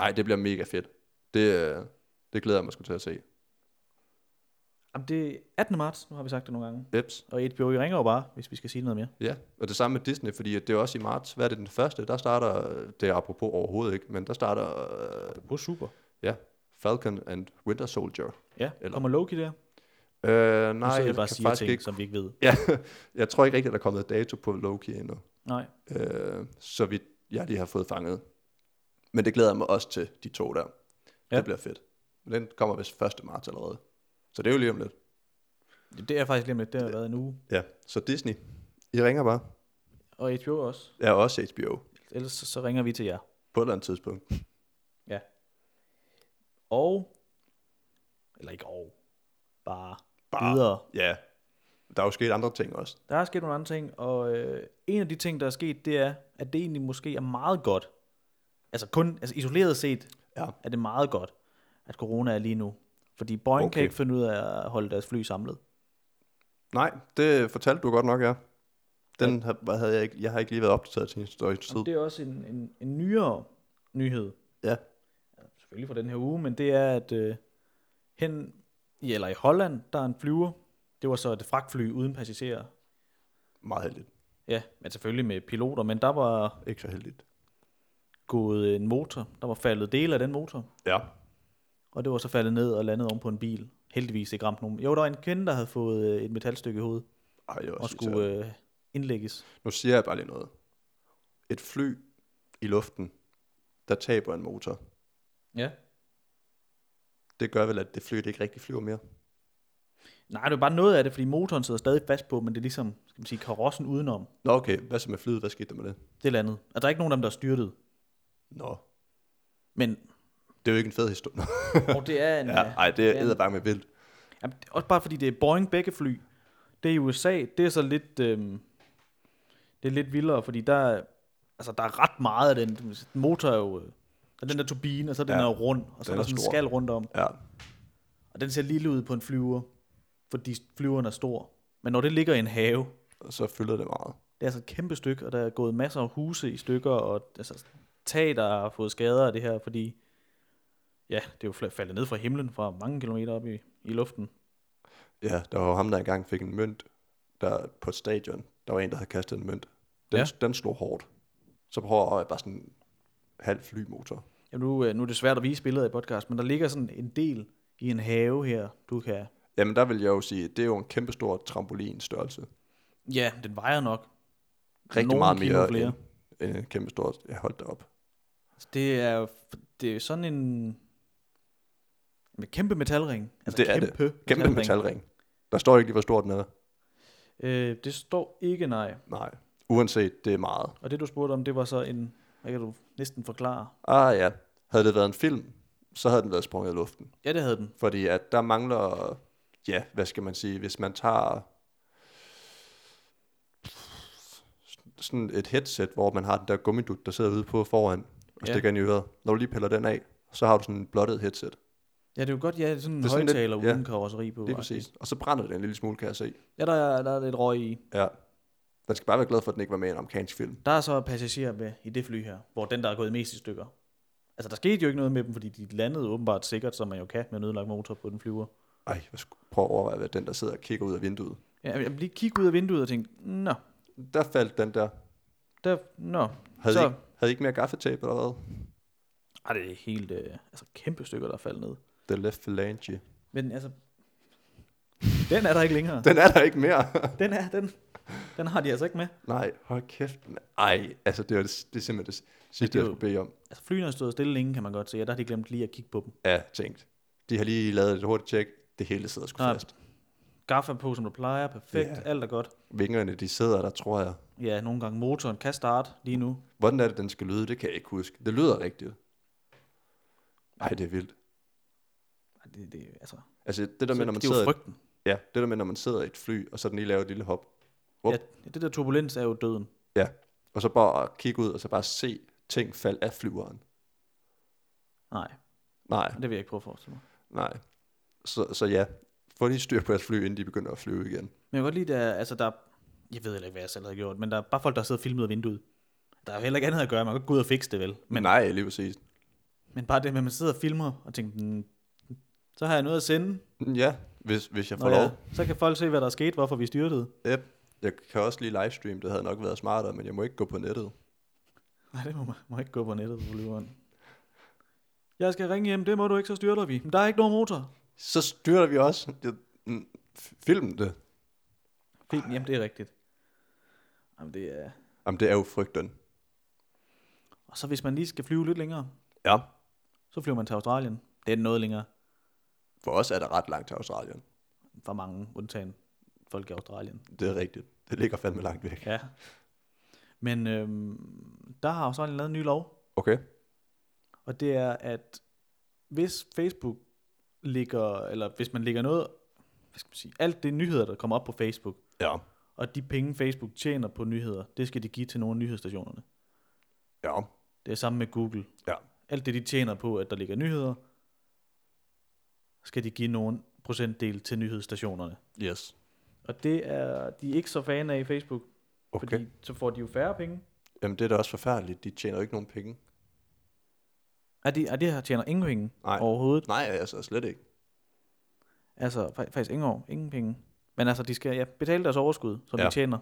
A: Ej, det bliver mega fedt. Det, øh, det glæder jeg mig sgu til at se.
B: Jamen, det er 18. marts, nu har vi sagt det nogle gange.
A: Eps.
B: Og HBO I ringer jo bare, hvis vi skal sige noget mere.
A: Ja, og det samme med Disney, fordi at det er også i marts. Hvad er det den første? Der starter, det er apropos overhovedet ikke, men der starter, øh,
B: På super.
A: ja, Falcon and Winter Soldier.
B: Ja,
A: Eller-
B: Eller... kommer Loki der?
A: Øh, nej,
B: Nej, så vi
A: jeg
B: bare
A: kan
B: siger
A: faktisk
B: ting, ikke...
A: ikke...
B: som vi ikke ved.
A: Ja, <laughs> jeg tror ikke rigtigt, at der er kommet dato på Loki endnu.
B: Nej,
A: øh, så vidt jeg lige har fået fanget. Men det glæder jeg mig også til, de to der. Ja.
B: Ja.
A: Det bliver fedt. Men den kommer vist 1. marts allerede. Så det er jo lige om lidt.
B: det det er faktisk lige om lidt. Det har været en uge.
A: Ja, så Disney, I ringer bare.
B: Og HBO også.
A: Jeg er også HBO
B: Ellers så- så ringer vi til jer.
A: på et eller andet tidspunkt.
B: Og, eller ikke og, bare,
A: Bare.
B: bare. videre.
A: Ja, der er jo sket andre ting også.
B: Der er sket nogle andre ting, og øh, en af de ting, der er sket, det er, at det egentlig måske er meget godt. Altså kun, altså isoleret set,
A: Ja.
B: er det meget godt, at corona er lige nu. Fordi Boeing okay.
A: Okay.
B: kan ikke finde ud af at holde deres fly samlet.
A: Nej, det fortalte du godt nok, ja. Den ja. Har, havde jeg, ikke, jeg har ikke lige været opdateret til historisk tid.
B: Jamen, det er også en, en, en nyere nyhed,
A: Ja,
B: selvfølgelig for den her uge, men det er, at øh, hen i, eller i Holland, der er en flyver. Det var så et fragtfly uden passagerer.
A: meget heldigt.
B: Ja, men selvfølgelig med piloter, men der var
A: Ikke så heldigt.
B: gået en motor. Der var faldet dele af den motor,
A: Ja,
B: og det var så faldet ned og landet oven på en bil. Heldigvis ikke ramt nogen. Jo, der var en kvinde, der havde fået øh, et metalstykke i hovedet
A: Ej, jeg er
B: og
A: også irriteret.
B: skulle øh, indlægges.
A: Nu siger jeg bare lige noget. Et fly i luften, der taber en motor,
B: Ja.
A: det gør vel, at det fly det ikke rigtig flyver mere.
B: Nej, det var bare noget af det, fordi motoren sidder stadig fast på, men det er ligesom, skal man sige, karossen udenom.
A: Nå okay, hvad så med flyet? Hvad skete der med det?
B: Det landede. Og der er ikke nogen af dem, der er styrtet.
A: Nå,
B: Men
A: det er jo ikke en fed historie. <laughs>
B: og det er en...
A: ja,
B: øh,
A: ej, det
B: det
A: er
B: er en-
A: æderbange med vildt.
B: Jamen, det er også bare fordi det er Boeing begge fly. Det er i USA, det er så lidt, øhm, det er lidt vildere, fordi der, er- altså, der er ret meget af den. Den motor er jo, øh, og den der turbine, og så er den
A: Ja,
B: ja, der rund, og så
A: den
B: er
A: er
B: der sådan en
A: stor.
B: skal rundt om.
A: Ja,
B: Og den ser lille ud på en flyver, fordi flyveren er stor. Men når det ligger i en have,
A: og så fylder det meget.
B: det er altså et kæmpe stykke, og der er gået masser af huse i stykker, og altså, tag, der har fået skader af det her, fordi ja, det er jo fla- faldet ned fra himlen fra mange kilometer op i, i luften.
A: Ja, der var jo ham, der engang fik en mønt der på et stadion. Der var en, der havde kastet en mønt. Den, ja.
B: Ja.
A: den slog hårdt. Så prøver jeg bare sådan en halv flymotor.
B: Ja, nu, øh, nu er det svært at vise billeder i podcast, men der ligger sådan en del i en have her, du kan...
A: Jamen der vil jeg jo sige, det er jo en kæmpestor trampolinstørrelse.
B: Ja, den vejer nok.
A: Rigtig
B: Nogle
A: meget
B: kilo
A: mere
B: flere.
A: end, end en kæmpestor... Ja, hold da op.
B: Altså, det er jo f- det er sådan en... Med kæmpe metalring. Altså,
A: Det er det.
B: kæmpe det.
A: Kæmpe metalring. Der står ikke lige, hvor stor den er.
B: Øh, det står ikke nej.
A: Nej. Uanset, det er meget.
B: Og det du spurgte om, det var så en... Hvad kan du næsten forklare?
A: Ah ja, havde det været en film, så havde den været sprunget i luften.
B: Ja, det havde den.
A: Fordi at der mangler, ja, hvad skal man sige, hvis man tager sådan et headset, hvor man har den der gummidut, der sidder ude på foran og
B: Ja.
A: stikker ind i øret. Når du lige piller den af, så har du sådan en blottet headset.
B: Ja, det er jo godt, ja, det er sådan en
A: Det er sådan lidt-
B: højtaler
A: ja.
B: uden karosseri på.
A: Lige
B: faktisk.
A: præcis. Og så brænder den en lille smule, kan jeg se.
B: Ja, der er, der er lidt røg i.
A: Ja. Man skal bare være glad for, at den ikke var med i en amerikansk film.
B: Der er så passagerer med i det fly her, hvor den, der er gået mest i stykker. Altså, der skete jo ikke noget med dem, fordi de landede åbenbart sikkert, som man jo kan med en ødelagt motor på den flyver.
A: Ej, jeg skulle prøve at overveje, hvad den der sidder og kigger ud af vinduet.
B: Ja, jeg lige kigge ud af vinduet og tænkte, nå,
A: Der faldt den der.
B: der, nå.
A: Havde,
B: Så-
A: I, ikke- havde I ikke mere gaffetape eller hvad?
B: Ej, det er helt, øh, altså kæmpe stykker, der er faldet ned.
A: The left phalange.
B: Men altså, den er der ikke længere.
A: Den er der ikke mere. <laughs>
B: Den er, den, den har de altså ikke med.
A: Nej, hold kæft. mand. Ej, altså det er, det, det er simpelthen det sidste,
B: det er
A: jeg
B: jo-
A: skulle bede om.
B: Altså, flyene har stået stille længe, kan man godt se, og der har de glemt lige at kigge på dem.
A: Ja, tænkt. De har lige lavet et hurtigt tjek. Det hele sidder sgu
B: Nej.
A: fast.
B: Gaffa på, som der plejer, perfekt,
A: Ja.
B: yeah. alt er godt.
A: Vingerne, de sidder der, tror jeg.
B: Ja, nogle gange motoren kan starte lige nu.
A: Hvordan er det, den skal lyde? Det kan jeg ikke huske. Det lyder rigtigt. Ej, det er vildt.
B: Ej, Det, det, altså,
A: Altså det der
B: så,
A: med, når man
B: det er
A: sidder,
B: jo frygten.
A: ja, det der med, når man sidder i et fly, og så den lige laver et lille hop, Wup.
B: Ja, det der turbulens er jo døden.
A: og så bare kigge ud, og så bare se ting falde af flyveren.
B: Nej,
A: Nej,
B: det vil jeg ikke prøve at forestille mig.
A: nej. Så, så ja, få lige styr på jeres fly, inden de begynder at flyve igen.
B: Men jeg kan godt lide, der, altså der, jeg ved heller ikke, hvad jeg selv havde gjort, men der er bare folk, der sidder og filmet ud af vinduet. Der er jo heller ikke andet at gøre, man kan ikke gå ud og fikse det vel.
A: Men nej, lige præcis.
B: Men bare det med, at man sidder og filmer og tænker, mm, så har jeg noget at sende,
A: Ja, hvis, hvis jeg får
B: Nå,
A: lov.
B: ja, så kan folk se, hvad der er sket, hvorfor vi styrtede.
A: Yep. Jeg kan også lige livestream, det havde nok været smartere, men jeg må ikke gå på nettet.
B: Nej, det må man må ikke gå på nettet på flyveren. Jeg skal ringe hjem, det må du ikke, så styrter vi. Men der er ikke nogen motor.
A: Så styrter vi også. Det, mm, f- film det.
B: Fint, jamen det er rigtigt. Jamen det er...
A: Jamen, det er jo frygten.
B: Og så hvis man lige skal flyve lidt længere,
A: Ja.
B: så flyver man til Australien. Det er noget længere
A: For os er det ret langt til Australien.
B: for mange, undtagen folk i Australien.
A: Det er rigtigt. Det ligger fandme langt væk.
B: Ja. Men øhm, der har Australien lavet en ny lov,
A: Okay.
B: Og det er, at hvis Facebook ligger, eller hvis man ligger noget, hvad skal man sige, alt det nyheder, der kommer op på Facebook,
A: Ja.
B: og de penge, Facebook tjener på nyheder, det skal de give til nogle af nyhedsstationerne.
A: Ja.
B: Det er samme med Google.
A: Ja.
B: Alt det, de tjener på, at der ligger nyheder, skal de give nogle procentdel til nyhedsstationerne.
A: Yes.
B: Og det er de er ikke så fan af i Facebook,
A: Okay.
B: fordi så får de jo færre penge.
A: Jamen, det er da også forfærdeligt. De tjener jo ikke nogen penge.
B: Er de, er de her tjener ingen penge
A: Nej.
B: overhovedet.
A: Nej, altså slet ikke.
B: Altså fa- faktisk ingen år, ingen penge. Men altså, de skal ja, betale deres overskud, som ja.
A: Ja.
B: de tjener.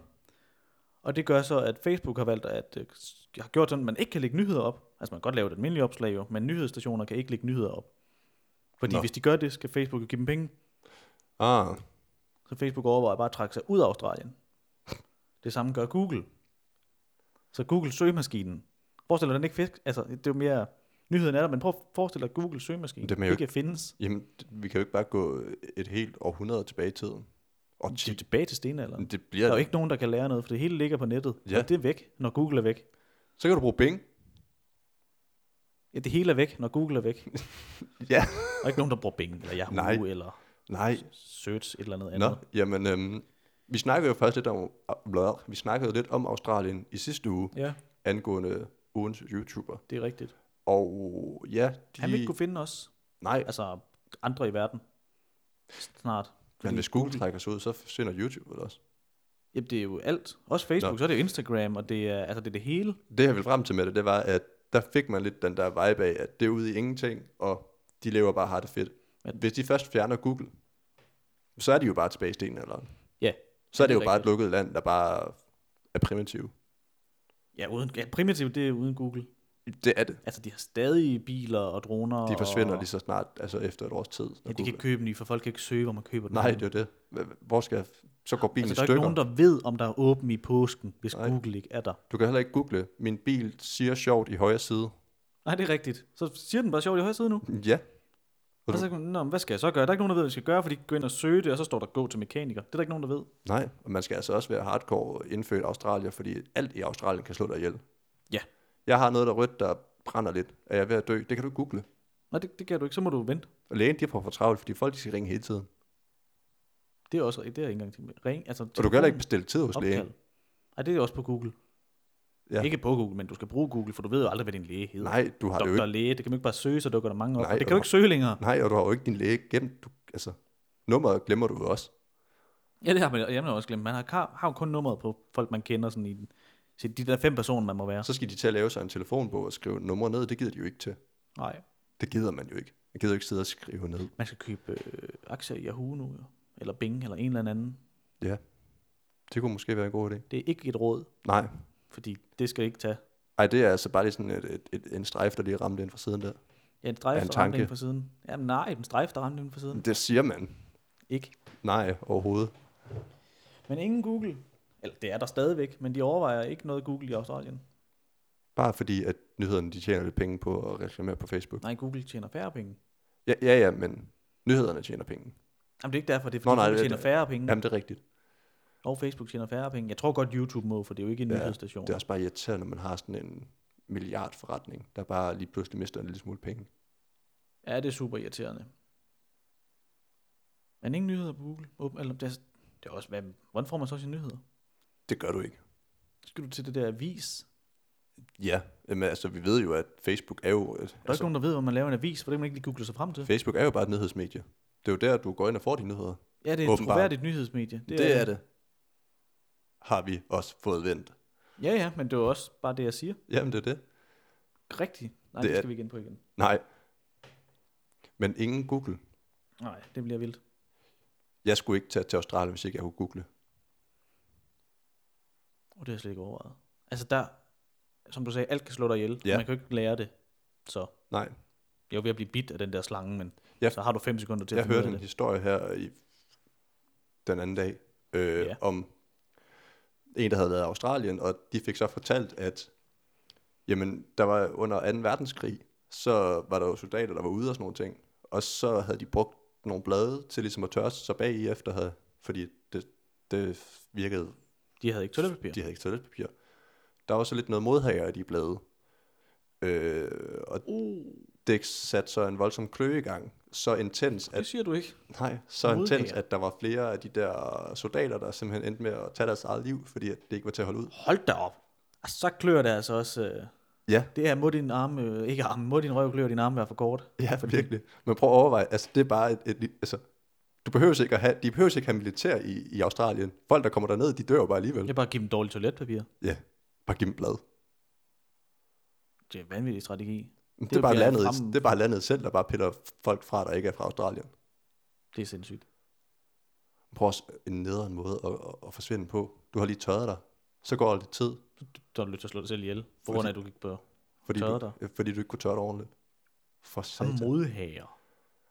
B: Og det gør så, at Facebook har valgt, at øh, s- har gjort sådan, at man ikke kan lægge nyheder op. Altså, man kan godt lave et almindeligt opslag jo, men nyhedsstationer kan ikke lægge nyheder op. Fordi Nå.
A: Nå.
B: hvis de gør det, skal Facebook jo give dem penge.
A: Ah,
B: Så Facebook overvejer bare at trække sig ud af Australien. Det samme gør Google. Så Google søgemaskinen. Forestil dig, den ikke fisk. Altså, det er jo mere nyheden er der, men prøv at forestille dig, at Google søgemaskinen
A: Det er
B: det
A: mere-
B: ikke findes.
A: jamen, d- vi kan jo ikke bare gå et helt århundrede tilbage i tiden. Og
B: Det er jo
A: ti,
B: tilbage til stenalderen.
A: det
B: Der
A: bliver
B: er jo
A: det.
B: ikke nogen, der kan lære noget, for det hele ligger på nettet. Ja.
A: Ja.
B: Og det er væk, når Google er væk.
A: Så kan du bruge Bing.
B: Ja, det hele er væk, når Google er væk.
A: Ja.
B: Og ikke nogen, der bruger Bing, eller Yahoo,
A: Nej.
B: eller
A: Nej.
B: Search, et eller noget
A: Nå,
B: andet.
A: jamen, øhm, vi snakkede jo faktisk lidt om, blør, vi snakkede jo lidt om Australien i sidste uge,
B: Ja,
A: angående ugens YouTuber.
B: det er rigtigt.
A: Og ja, de...
B: Han vil ikke kunne finde os,
A: Nej,
B: altså andre i verden, snart.
A: men hvis Google trækker sig ud, så forsvinder YouTube vel også.
B: Jamen, det er jo alt. Også Facebook, Nå.
A: Nå.
B: så er det jo Instagram, og det er, altså, det, er det hele.
A: Det jeg ville frem til med det, det var, at der fik man lidt den der vibe af, at det er ude i ingenting, og de lever bare hardt og fedt.
B: Men-
A: Hvis de først fjerner Google, så er de jo bare tilbage i stenen, eller?
B: Ja,
A: Så er
B: det
A: det
B: er
A: jo bare et
B: rigtigt.
A: lukket land, der bare er primitiv.
B: ja, uden, ja primitivt, det er uden Google.
A: Det er det.
B: Altså, de har stadig biler og droner.
A: De forsvinder
B: og,
A: lige så snart, altså efter et års tid. når
B: Ja, de kan
A: Google-
B: ikke købe dem lige, for folk kan ikke søge, hvor man køber dem.
A: Nej, det er jo det. Hva- Hvor skal jeg... Så går bilen
B: Altså,
A: altså, i
B: der er ikke
A: stykker.
B: nogen, der ved, om der er åben i påsken, hvis Nej.
A: Nej.
B: Google ikke er der.
A: Du kan heller ikke google, min bil siger sjovt i højre side.
B: Nej, det er rigtigt. Så siger den bare sjovt i højre side nu.
A: Ja,
B: Og så kan man, Nå, men hvad skal jeg så gøre? Der er ikke nogen, der ved, hvad jeg skal gøre, fordi de går ind og søger det, og så står der gå til mekaniker. Det er der ikke nogen, der ved.
A: nej. Og man skal altså også være hardcore indfødt Australier, fordi alt i Australien kan slå dig ihjel.
B: Ja.
A: Jeg har noget, der er rødt, der brænder lidt. Er jeg ved at dø? Det kan du google.
B: Nej, det, det kan du ikke. Så må du vente.
A: Og lægen, de får for travlt, fordi folk de skal ringe hele tiden.
B: Det er også det er jeg ikke engang tænkt med. Ring, altså,
A: Og du kan heller ikke bestille tid hos
B: opkald.
A: lægen.
B: Nej, det er også på Google. Ja.
A: Ja.
B: Ikke på Google, men du skal bruge Google, for du ved jo aldrig, hvad din læge hedder.
A: Nej, du har det jo
B: Doktor
A: ikke.
B: læge, det kan man ikke bare søge, så dukker der mange op.
A: Nej,
B: Nej, det
A: og
B: kan du
A: du
B: ikke søge længere.
A: Nej, og du har jo ikke din læge gemt. Du, altså, nummeret glemmer du jo også.
B: Ja, det har man, jeg har også glemt. Man har, har, har jo kun nummeret på folk, man kender sådan i den- så de der fem personer, man må være.
A: Så skal de til at lave sig en telefonbog og skrive numre ned. Det gider de jo ikke til.
B: Nej,
A: Det gider man jo ikke. Man gider jo ikke sidde og skrive ned.
B: man skal købe øh, aktier i Yahoo nu, jo. eller Bing, eller en eller anden.
A: Ja. Det kunne måske være en god idé.
B: Det er ikke et råd,
A: Nej.
B: fordi det skal ikke tage.
A: Ej, det er altså bare lige sådan et, et, et, en strejf, der lige ramte ind fra siden der.
B: Ja, en
A: Er
B: strejf,
A: en
B: der ramte
A: tanke. Mm.
B: ind fra siden. Jamen nej, en strejf, der ramte ind fra siden.
A: Det siger man.
B: Ikke.
A: Nej, overhovedet.
B: Men ingen Google. Eller det er der stadigvæk, men de overvejer ikke noget Google i Australien.
A: Bare fordi, at nyhederne de tjener lidt penge på at reklamere på Facebook.
B: Nej, Google tjener færre penge.
A: Ja, ja, ja men nyhederne tjener penge.
B: Jamen det er ikke derfor, det er
A: Nå,
B: fordi, Nå,
A: nej,
B: nej, Google
A: det-
B: tjener færre penge,
A: Jamen, det er rigtigt.
B: og Facebook tjener færre penge. Jeg tror godt, YouTube må, for det er jo ikke en ja,
A: Ja,
B: nyhedsstation.
A: Det er også bare irriterende, når man har sådan en milliardforretning, der bare lige pludselig mister en lille smule penge.
B: Ja, det er super irriterende. Men ingen nyheder på Google. Åben- Eller, det, er, det er også, hvad, hvordan får man så sine nyheder?
A: Det gør du ikke.
B: Skal du til det der avis?
A: Ja, men altså, vi ved jo, at Facebook er jo...
B: Der er altså, ikke
A: Altså,
B: nogen, der ved, hvor man laver en avis, for det kan man ikke lige google sig frem til.
A: Facebook er jo bare et nyhedsmedie. Det er jo der, du går ind og får dine nyheder.
B: Ja, det er et
A: åbenbart.
B: troværdigt nyhedsmedie.
A: det. Har vi også fået vendt.
B: Ja, ja, men det er jo også bare det, jeg siger.
A: Jamen, det er det.
B: Rigtigt.
A: Det
B: Nej, det, det
A: er-
B: skal vi igen på igen.
A: Nej. Men ingen Google.
B: Nej, det bliver vildt.
A: Jeg skulle ikke tage til Australien, hvis ikke jeg kunne google.
B: Og det har jeg slet ikke overvejet. Altså der, som du sagde, alt kan slå dig ihjel. Ja.
A: Ja.
B: Man kan jo ikke lære det. Så
A: Nej.
B: Jeg er ved at blive bit af den der slange, men
A: Ja.
B: så har du fem sekunder til
A: Jeg
B: at finde ud
A: hørte
B: af
A: en
B: det.
A: historie her i den anden dag, øh,
B: Ja.
A: om en, der havde været i Australien, og de fik så fortalt, at jamen, der var under 2. verdenskrig, så var der jo soldater, der var ude og sådan nogle ting, og så havde de brugt nogle blade til ligesom at tørre sig bag i efter, havde, fordi det, det virkede
B: De havde ikke toiletpapir.
A: de havde ikke toiletpapir. Der var så lidt noget modhager i de blade. Øh, og uh. det satte så en voldsom kløe i gang. Så intens,
B: Det
A: at,
B: siger du ikke.
A: nej, så intens,
B: Modhager?
A: at der var flere af de der soldater, der simpelthen endte med at tage deres eget liv, fordi at det ikke var til at holde ud.
B: Hold da op. Og så klør det altså også... Øh,
A: Ja,
B: det her må din arme... Øh, ikke arme, må din røv klør din arme være for kort.
A: ja virkelig. Men prøv at overveje, altså det er bare et, et li- altså, du behøver ikke at have, de behøver ikke have militær i, i Australien. Folk, der kommer derned, de dør jo bare alligevel.
B: Jeg bare give dem dårligt toiletpapir.
A: Ja, bare giv dem blad.
B: Det er en vanvittig strategi.
A: Det, det, er bare
B: bliver
A: landet,
B: frem-
A: det er bare landet selv, der bare piller folk fra, der ikke er fra Australien.
B: Det er sindssygt.
A: Prøv også en nederen måde at, at, at forsvinde på. Du har lige tørret dig. Så går der lidt tid,
B: Så har du lyst til at slå dig selv ihjel, på grund af, at du gik på
A: fordi,
B: Tørret
A: du, øh, fordi du ikke kunne tørre dig ordentligt. For satan.
B: modhager.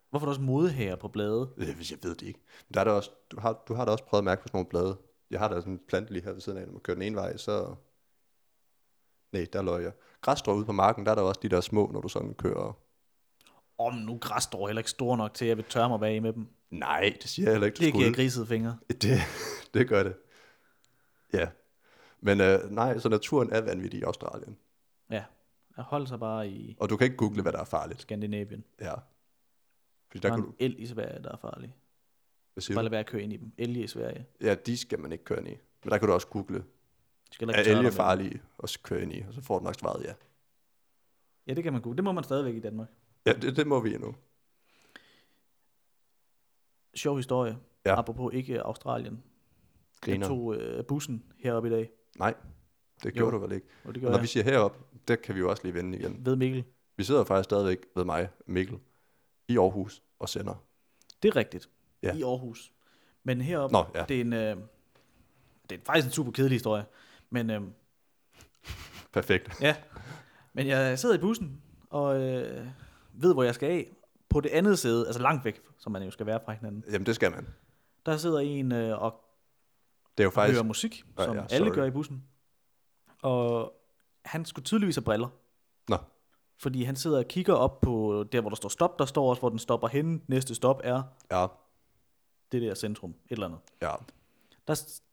B: Hvorfor er der også modhager på blade?
A: Øh, hvis jeg ved det ikke. Men der er der også, du, har, du har da også prøvet at mærke på sådan nogle blade. Jeg har da sådan en plante lige her ved siden af, når man kører den ene vej, så... Nej, der løg jeg. Græsstrå ude på marken, der er der også de der små, når du sådan kører...
B: Om nu græsstrå er heller ikke store nok til, at jeg vil tørre mig bag i med dem.
A: Nej, det siger jeg heller ikke, du
B: Det
A: skulle.
B: giver grisede fingre.
A: Det, <laughs> det gør det. Ja. Men øh, nej, så naturen er vanvittig i Australien.
B: Ja, at holde sig bare i
A: Og du kan ikke google, hvad der er farligt.
B: Skandinavien.
A: Ja. Fordi
B: Der
A: der
B: er
A: kan du...
B: en el i Sverige, der er farlig.
A: Hvad siger
B: Bare
A: du?
B: lad være at køre ind i dem. Elge i Sverige.
A: Ja, de skal man ikke køre ind i. Men der kan du også google,
B: Du skal heller
A: er
B: ikke tørre
A: elge
B: dig med dem.
A: farlige og så køre ind i, og så får du nok svaret ja.
B: Ja, det kan man godt. Det må man stadigvæk i Danmark.
A: Ja, det, det må vi endnu.
B: Sjov historie.
A: Ja.
B: Apropos ikke Australien.
A: Griner.
B: Jeg tog øh, bussen heroppe i dag.
A: Nej, det
B: Jo,
A: gjorde du vel ikke.
B: Og det
A: Og
B: gjorde
A: når
B: jeg
A: vi siger herop, der kan vi jo også lige vende igen.
B: ved Mikkel.
A: Vi sidder faktisk stadigvæk ved mig, Mikkel, i Aarhus og sender.
B: Det er rigtigt.
A: Ja.
B: Ja. I Aarhus. Men heroppe,
A: Nå, ja.
B: det er en... Øh, det er faktisk en super kedelig historie. Men øh,
A: Perfekt.
B: Ja, men jeg sidder i bussen og øh, ved, hvor jeg skal af. På det andet sæde, altså langt væk, som man jo skal være fra hinanden,
A: Jamen, det skal man.
B: der sidder en øh, og
A: Det er jo faktisk...
B: hører musik,
A: Ja,
B: som
A: ja,
B: ja, alle
A: sorry.
B: gør i bussen. Og han skulle tydeligvis have briller,
A: Nå,
B: fordi han sidder og kigger op på der, hvor der står stop. Der står også, hvor den stopper henne. Næste stop er
A: ja,
B: det der centrum, et eller andet.
A: ja.
B: der, s-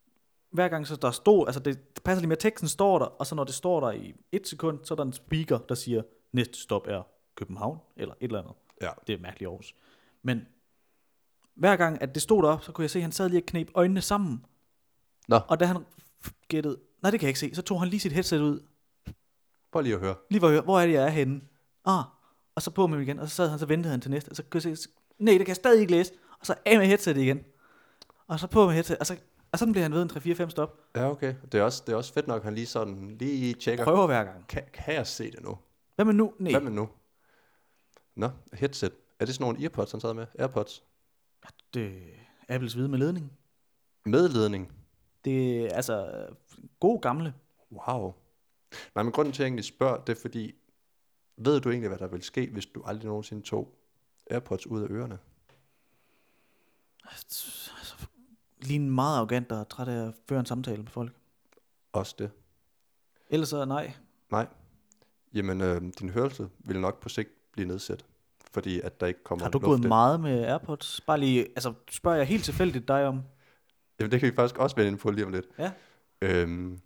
B: hver gang så der stod, altså det, det passer lige med, at teksten står der, og så når det står der i et sekund, så er der en speaker, der siger, næste stop er København, eller et eller andet.
A: Ja.
B: Det er mærkeligt Aarhus. Men hver gang, at det stod deroppe, så kunne jeg se, at han sad lige og knep øjnene sammen.
A: Nå.
B: Og da han f- gættede, nej det kan jeg ikke se, så tog han lige sit headset ud,
A: Prøv lige at høre.
B: lige for at høre, hvor er det, jeg er henne? Ah, og så på med dem igen, og så sad han, så ventede han til næste, og så kunne jeg se, nej, det kan jeg stadig ikke læse, og så af med headsetet igen, og så på med headsetet, og, så, og sådan bliver han ved en 3-4-5 stop,
A: Ja, okay. Det er også, det er også fedt nok, at han lige sådan lige tjekker.
B: prøver hver gang.
A: Kan, kan jeg se det nu?
B: Hvad med nu? Nej.
A: Hvad med nu? Nå, headset. Er det sådan nogle earpods, han sad med? Airpods?
B: Det er Apples hvide med ledning.
A: Medledning?
B: Det er altså øh, gode gamle.
A: Wow. Nej, men grunden til, at jeg egentlig spørger, det er fordi, ved du egentlig, hvad der vil ske, hvis du aldrig nogensinde tog Airpods ud af ørerne?
B: Altså, lige en meget arrogant, der er træt af at føre en samtale med folk.
A: Også det.
B: Ellers så nej.
A: Nej. Jamen, øh, din hørelse vil nok på sigt blive nedsat, fordi at der ikke kommer
B: Har du
A: luft
B: gået
A: ind.
B: meget med AirPods? Bare lige, altså spørger jeg helt tilfældigt dig om.
A: Jamen, det kan vi faktisk også vende ind på lige om lidt.
B: Ja.
A: Øhm,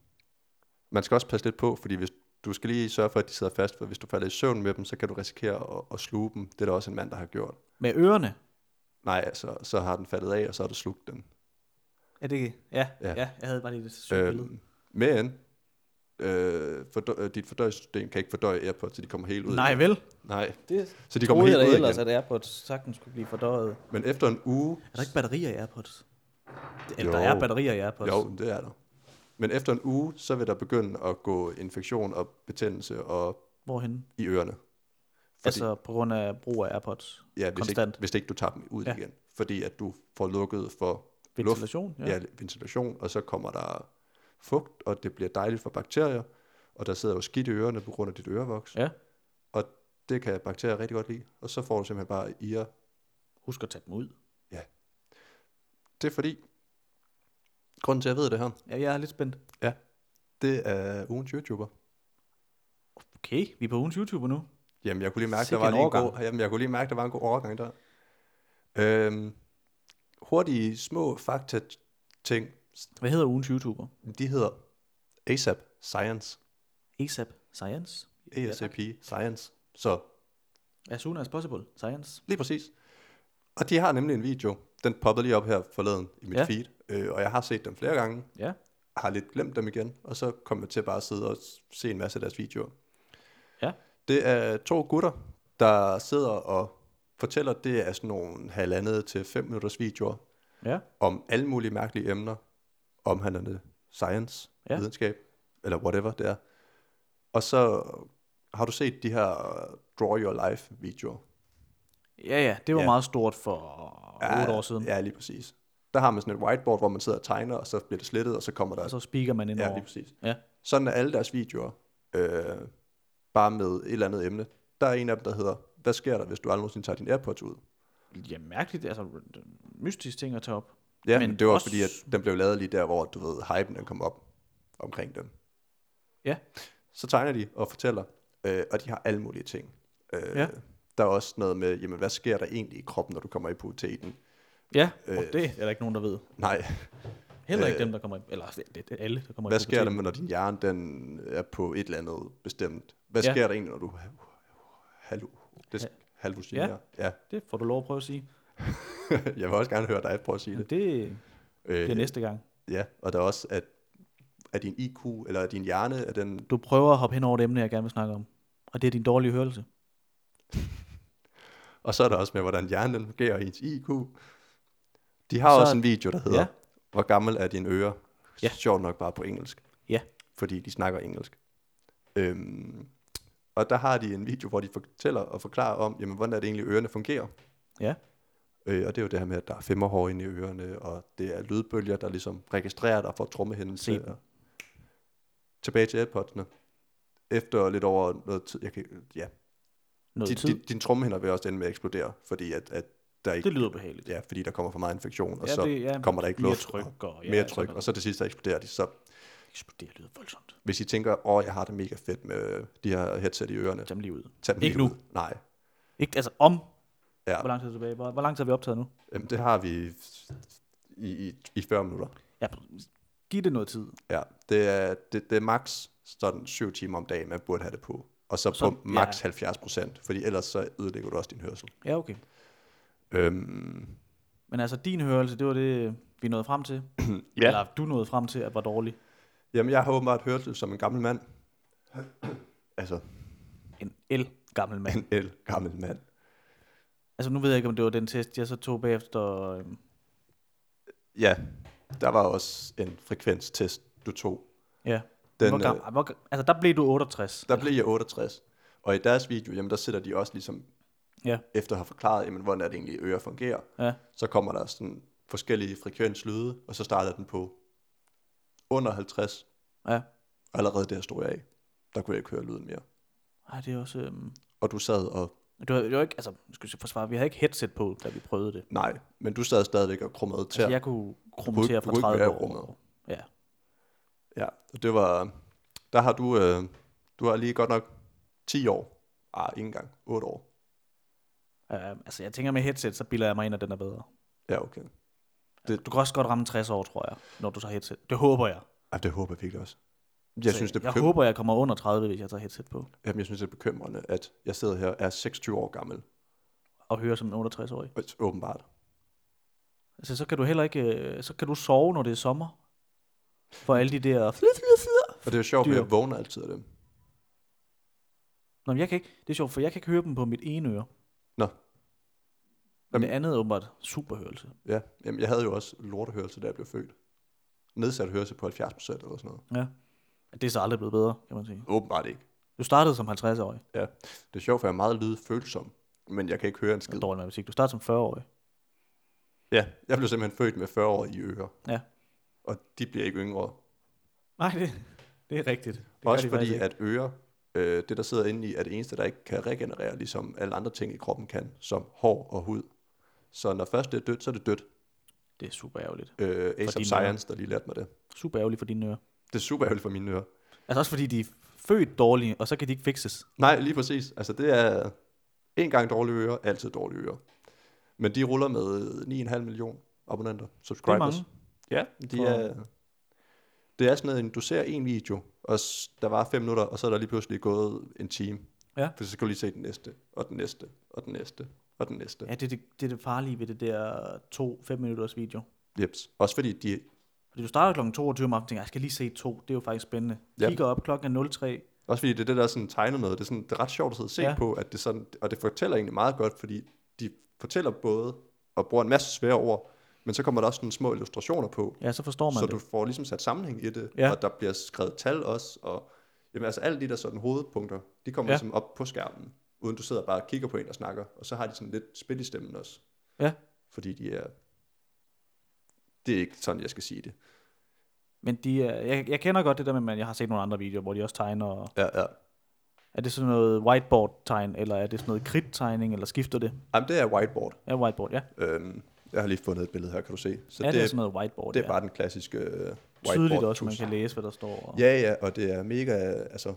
A: man skal også passe lidt på, fordi hvis du skal lige sørge for, at de sidder fast, for hvis du falder i søvn med dem, så kan du risikere at, at sluge dem. Det er der også en mand, der har gjort.
B: Med ørerne?
A: Nej, altså, så har den faldet af, og så har du slugt den.
B: Er det Ja,
A: Ja.
B: ja. ja jeg havde bare lige et sygt billede.
A: Øhm, men øh, fordø- øh, dit fordøjelsessystem kan ikke fordøje Airpods, så de kommer helt ud.
B: Nej
A: igen.
B: vel?
A: Nej,
B: Det
A: så de kommer
B: troede
A: helt
B: jeg da
A: ud
B: ellers,
A: igen.
B: at AirPods sagtens skulle blive fordøjet.
A: Men efter en uge,
B: Er der ikke batterier i AirPods? Eller der
A: Jo.
B: er batterier i AirPods.
A: jo, det er der. Men efter en uge, så vil der begynde at gå infektion og betændelse og
B: Hvorhenne?
A: i ørerne. Fordi,
B: Altså på grund af brug af AirPods.
A: ja, hvis, ikke,
B: konstant.
A: hvis ikke du tager dem ud ja.
B: Ja.
A: igen. Fordi at du får lukket for luft,
B: Ventilation?
A: ja. ja, ventilation, og så kommer der fugt, og det bliver dejligt for bakterier, og der sidder jo skidt i ørerne på grund af dit ørevoks.
B: Ja.
A: Og Det kan bakterier rigtig godt lide. Og så får du simpelthen bare IR.
B: Husk at tage dem ud.
A: Det er fordi, grunden til, at jeg ved det her,
B: Ja, jeg er lidt spændt.
A: det er ugens YouTuber.
B: Okay, vi er på ugens YouTuber nu.
A: Jamen, jeg kunne lige mærke,
B: Sikke
A: der var
B: en
A: lige en
B: overgang.
A: god, jamen, jeg kunne lige mærke, der var en god overgang der. Øhm, hurtige, små fakta-ting.
B: Hvad hedder ugens YouTuber?
A: De hedder ASAP Science.
B: ASAP Science.
A: ASAP Science. Så
B: As soon as possible. Science.
A: lige præcis. Og de har nemlig en video. Den poppede lige op her forleden i mit
B: Ja.
A: ja. feed. Øh, og jeg har set dem flere gange.
B: Ja.
A: har lidt glemt dem igen, og så kommer jeg til bare at sidde og s- se en masse af deres videoer.
B: Ja.
A: Det er to gutter, der sidder og fortæller, det er sådan nogle halvandet til fem minutters videoer,
B: Ja.
A: om alle mulige mærkelige emner, omhandlende science,
B: Ja.
A: ja. videnskab, eller whatever det er. Og så har du set de her øh, Draw Your Life videoer.
B: Ja, ja. Det var ja.
A: Ja.
B: meget stort for 8 år siden. Ja.
A: Ja, lige præcis. Der har man sådan et whiteboard, hvor man sidder og tegner, og så bliver det slettet, og så kommer der
B: Og så speaker man ind
A: Ja,
B: over.
A: lige præcis.
B: Ja.
A: Sådan er alle deres videoer, øh, bare med et eller andet emne. Der er en af dem, der hedder, hvad sker der, hvis du aldrig nogensinde tager din Airpods ud?
B: Ja, mærkeligt. Altså, mystisk ting at tage op.
A: Ja,
B: Men
A: men, men det var
B: også-
A: også... fordi, at den blev lavet lige der, hvor du ved, hypen den kom op omkring dem.
B: Ja.
A: Så tegner de og fortæller, øh, og de har alle mulige ting. Øh,
B: Ja.
A: Der er også noget med, jamen, hvad sker der egentlig i kroppen, når du kommer i puberteten?
B: Ja, øh,
A: Øh.
B: det er der ikke nogen, der ved.
A: Nej,
B: Heller øh,
A: Øh.
B: ikke dem, der kommer i, Eller det, det, det er alle, der kommer i
A: hvad sker der,
B: puberteten.
A: når din hjerne den er på et eller andet bestemt? Hvad
B: Ja.
A: sker der egentlig, når du hallu- det sk- hallucinerer? Ja. <laughs>
B: Det får du lov at prøve at sige.
A: jeg vil også gerne høre dig prøve at sige
B: Men
A: det.
B: det bliver
A: Øh,
B: næste gang.
A: ja, og der er også, at er din IQ, eller er din hjerne, er den...
B: Du prøver at hoppe hen over det emne, jeg gerne vil snakke om. Og det er din dårlige hørelse.
A: Og så er der også med, hvordan hjernen den fungerer, og ens IQ. De har så,
B: Så-
A: også en video, der hedder,
B: Ja.
A: ja. hvor gammel er dine ører?
B: Ja.
A: Ja. Sjovt nok bare på engelsk.
B: Ja.
A: Fordi de snakker engelsk. Øhm, og der har de en video, hvor de fortæller og forklarer om, jamen, hvordan er det egentlig, ørerne fungerer.
B: Ja.
A: Øh, og det er jo det her med, at der er femmerhår inde i ørerne, og det er lydbølger, der ligesom registrerer dig for
B: Se
A: trommehændelse.
B: dem.
A: Og... Øh, Tilbage til Airpods'ene. Efter lidt over noget tid, jeg kan, ja,
B: Noget
A: din,
B: tid.
A: din, din trommehinder vil også ende med at eksplodere, fordi at, at der ikke,
B: det lyder behageligt.
A: ja, fordi der kommer for meget infektion, og
B: Ja,
A: så
B: det- ja,
A: kommer der ikke
B: mere
A: luft, og
B: tryk og ja,
A: mere
B: sådan
A: tryk,
B: noget.
A: og så til sidst der eksploderer de. Så
B: Eksploderer lyder voldsomt.
A: hvis I tænker, åh, jeg har det mega fedt med øh, de her headset i ørerne,
B: Tag dem lige ud.
A: tag dem
B: Ikke
A: lige
B: nu.
A: Ud. Nej,
B: Ikke, altså om.
A: Ja.
B: Hvor lang tid er tilbage? Hvor, hvor lang tid har vi optaget nu?
A: Jamen, det har vi i, i, i 40 minutter.
B: Ja, giv det noget tid.
A: Ja, det er, det, det er max sådan 7 timer om dagen, man burde have det på. Og så,
B: Så-
A: så på max
B: ja.
A: ja. 70 procent, fordi ellers så ødelægger du også din hørsel.
B: Ja, okay.
A: Øhm,
B: Men altså, din hørelse, det var det, vi nåede frem til.
A: Ja.
B: Eller du nåede frem til, at var dårlig.
A: jamen, jeg har åbenbart hørsel som en gammel mand. altså,
B: En el gammel mand.
A: en el gammel mand.
B: altså, nu ved jeg ikke, om det var den test, jeg så tog bagefter. øhm,
A: Ja, der var også en frekvenstest, du tog.
B: Ja. Den,
A: Den,
B: hvor
A: øh,
B: gammel, hvor, ga- altså, der blev du 68.
A: der blev jeg 68. Og i deres video, jamen, der sætter de også ligesom,
B: Ja.
A: efter at have forklaret, jamen, hvordan er det egentlig, ører fungerer.
B: Ja.
A: så kommer der sådan forskellige frekvenslyde, og så starter den på under 50.
B: Ja.
A: Og Allerede der stod jeg af. Der kunne jeg ikke høre lyden mere.
B: Ej, det er også... Øhm,
A: Og du sad og,
B: det var, det var ikke, altså, nu skal jeg forsvare, vi havde ikke headset på, da vi prøvede det.
A: nej, men du sad stadigvæk og krummede til.
B: Altså,
A: Altså,
B: jeg kunne
A: kunne
B: krumme
A: ikke-
B: til
A: du
B: fra
A: kunne ikke
B: 30
A: være i
B: år.
A: rummet.
B: Ja.
A: ja, og det var, der har du, øh, du har lige godt nok 10 år. Ah, ikke engang. 8 år.
B: Uh, altså, jeg tænker med headset, så bilder jeg mig ind, at den er bedre.
A: Ja, okay.
B: Du kan også godt ramme 60 år, tror jeg, når du tager headset. Det håber jeg.
A: Ej, det håber jeg virkelig også. Jeg
B: Så
A: synes, det er
B: jeg
A: bekym-
B: håber, jeg kommer under 30, hvis jeg tager headset på,
A: Jamen, jeg synes, det er bekymrende, at jeg sidder her og er 26 år gammel.
B: og hører som en 68-årig.
A: Øh, Åbenbart.
B: Altså, så kan du heller ikke, øh, så kan du sove, når det er sommer. For alle de der... flir, flir, flir.
A: Og det er jo sjovt, at
B: Dyr.
A: jeg vågner altid af dem.
B: Nå, men jeg kan ikke, det er sjovt, for jeg kan ikke høre dem på mit ene øre.
A: Nå.
B: Men
A: Jamen-
B: det andet er åbenbart superhørelse.
A: Ja, jamen jeg havde jo også lortehørelse, da jeg blev født. Nedsat hørelse på 70 procent eller sådan noget.
B: Ja. Det er så aldrig blevet bedre, kan man sige.
A: Åbenbart ikke.
B: Du startede som 50-årig.
A: Ja. Det er sjovt, for jeg er meget lydfølsom, men jeg kan ikke høre en
B: Det er
A: skid.
B: dårlig matematik. Du startede som 40-årig.
A: Ja, jeg blev simpelthen født med 40 år i ører.
B: Ja.
A: Og de bliver ikke yngre.
B: Nej, det, det er rigtigt. Det
A: Det Også fordi, at ører øh, det, der sidder inde i, er det eneste, der ikke kan regenerere, ligesom alle andre ting i kroppen kan, som hår og hud. Så når først det er dødt, så er det dødt.
B: Det er super ærgerligt.
A: Øh, Ace
B: Fordi
A: of
B: når-
A: Science, der lige lærte mig det.
B: Super ærgerligt for dine ører.
A: Det er super ærgerligt for mine ører.
B: Altså også fordi de er født dårlige, og så kan de ikke fikses.
A: Nej, lige præcis. Altså det er en gang dårlige ører, altid dårlige ører. Men de ruller med 9,5 millioner abonnenter,
B: Det er
A: subscribers.
B: mange.
A: Ja, de
B: For-
A: er, det er sådan noget, en- du ser en video, og s- der var fem minutter, og så er der lige pludselig gået en time.
B: Ja.
A: For så skal du lige se den næste, og den næste, og den næste, og den næste.
B: Ja, det, er det, det er det farlige ved det der to 5 minutters video.
A: Jeps. Også fordi de,
B: Fordi du starter kl. 22 om aftenen, og tænker, jeg skal lige se to, det er jo faktisk spændende.
A: Ja.
B: Kigger op klokken er 03.
A: også fordi det er det, der er sådan tegnet med. Det er, sådan, det er ret sjovt at sidde og se
B: Ja.
A: ja. på, at det sådan, og det fortæller egentlig meget godt, fordi de fortæller både og bruger en masse svære ord, men så kommer der også nogle små illustrationer på,
B: Ja, så forstår man
A: så
B: det.
A: du får ligesom sat sammenhæng i det,
B: Ja.
A: og der bliver skrevet tal også, og jamen, altså alle de der sådan hovedpunkter, de kommer
B: Ja.
A: ja. ligesom op på skærmen, uden du sidder bare og kigger på en, der snakker, og så har de sådan lidt spil i stemmen også.
B: Ja.
A: Fordi de er... Det er ikke sådan, jeg skal sige det.
B: Men de er, jeg, jeg kender godt det der med, at jeg har set nogle andre videoer, hvor de også tegner. Og,
A: Ja, ja.
B: er det sådan noget whiteboard-tegn, eller er det sådan noget kridttegning, eller skifter det?
A: Jamen, det er whiteboard.
B: Ja, whiteboard, ja.
A: Øhm, jeg har lige fundet et billede her, kan du se. Så
B: ja det, det er sådan noget whiteboard,
A: det er
B: ja.
A: bare den klassiske øh, whiteboard.
B: Tydeligt også, man
A: tus.
B: kan læse, hvad der står. Og,
A: Ja, ja, og det er mega, altså,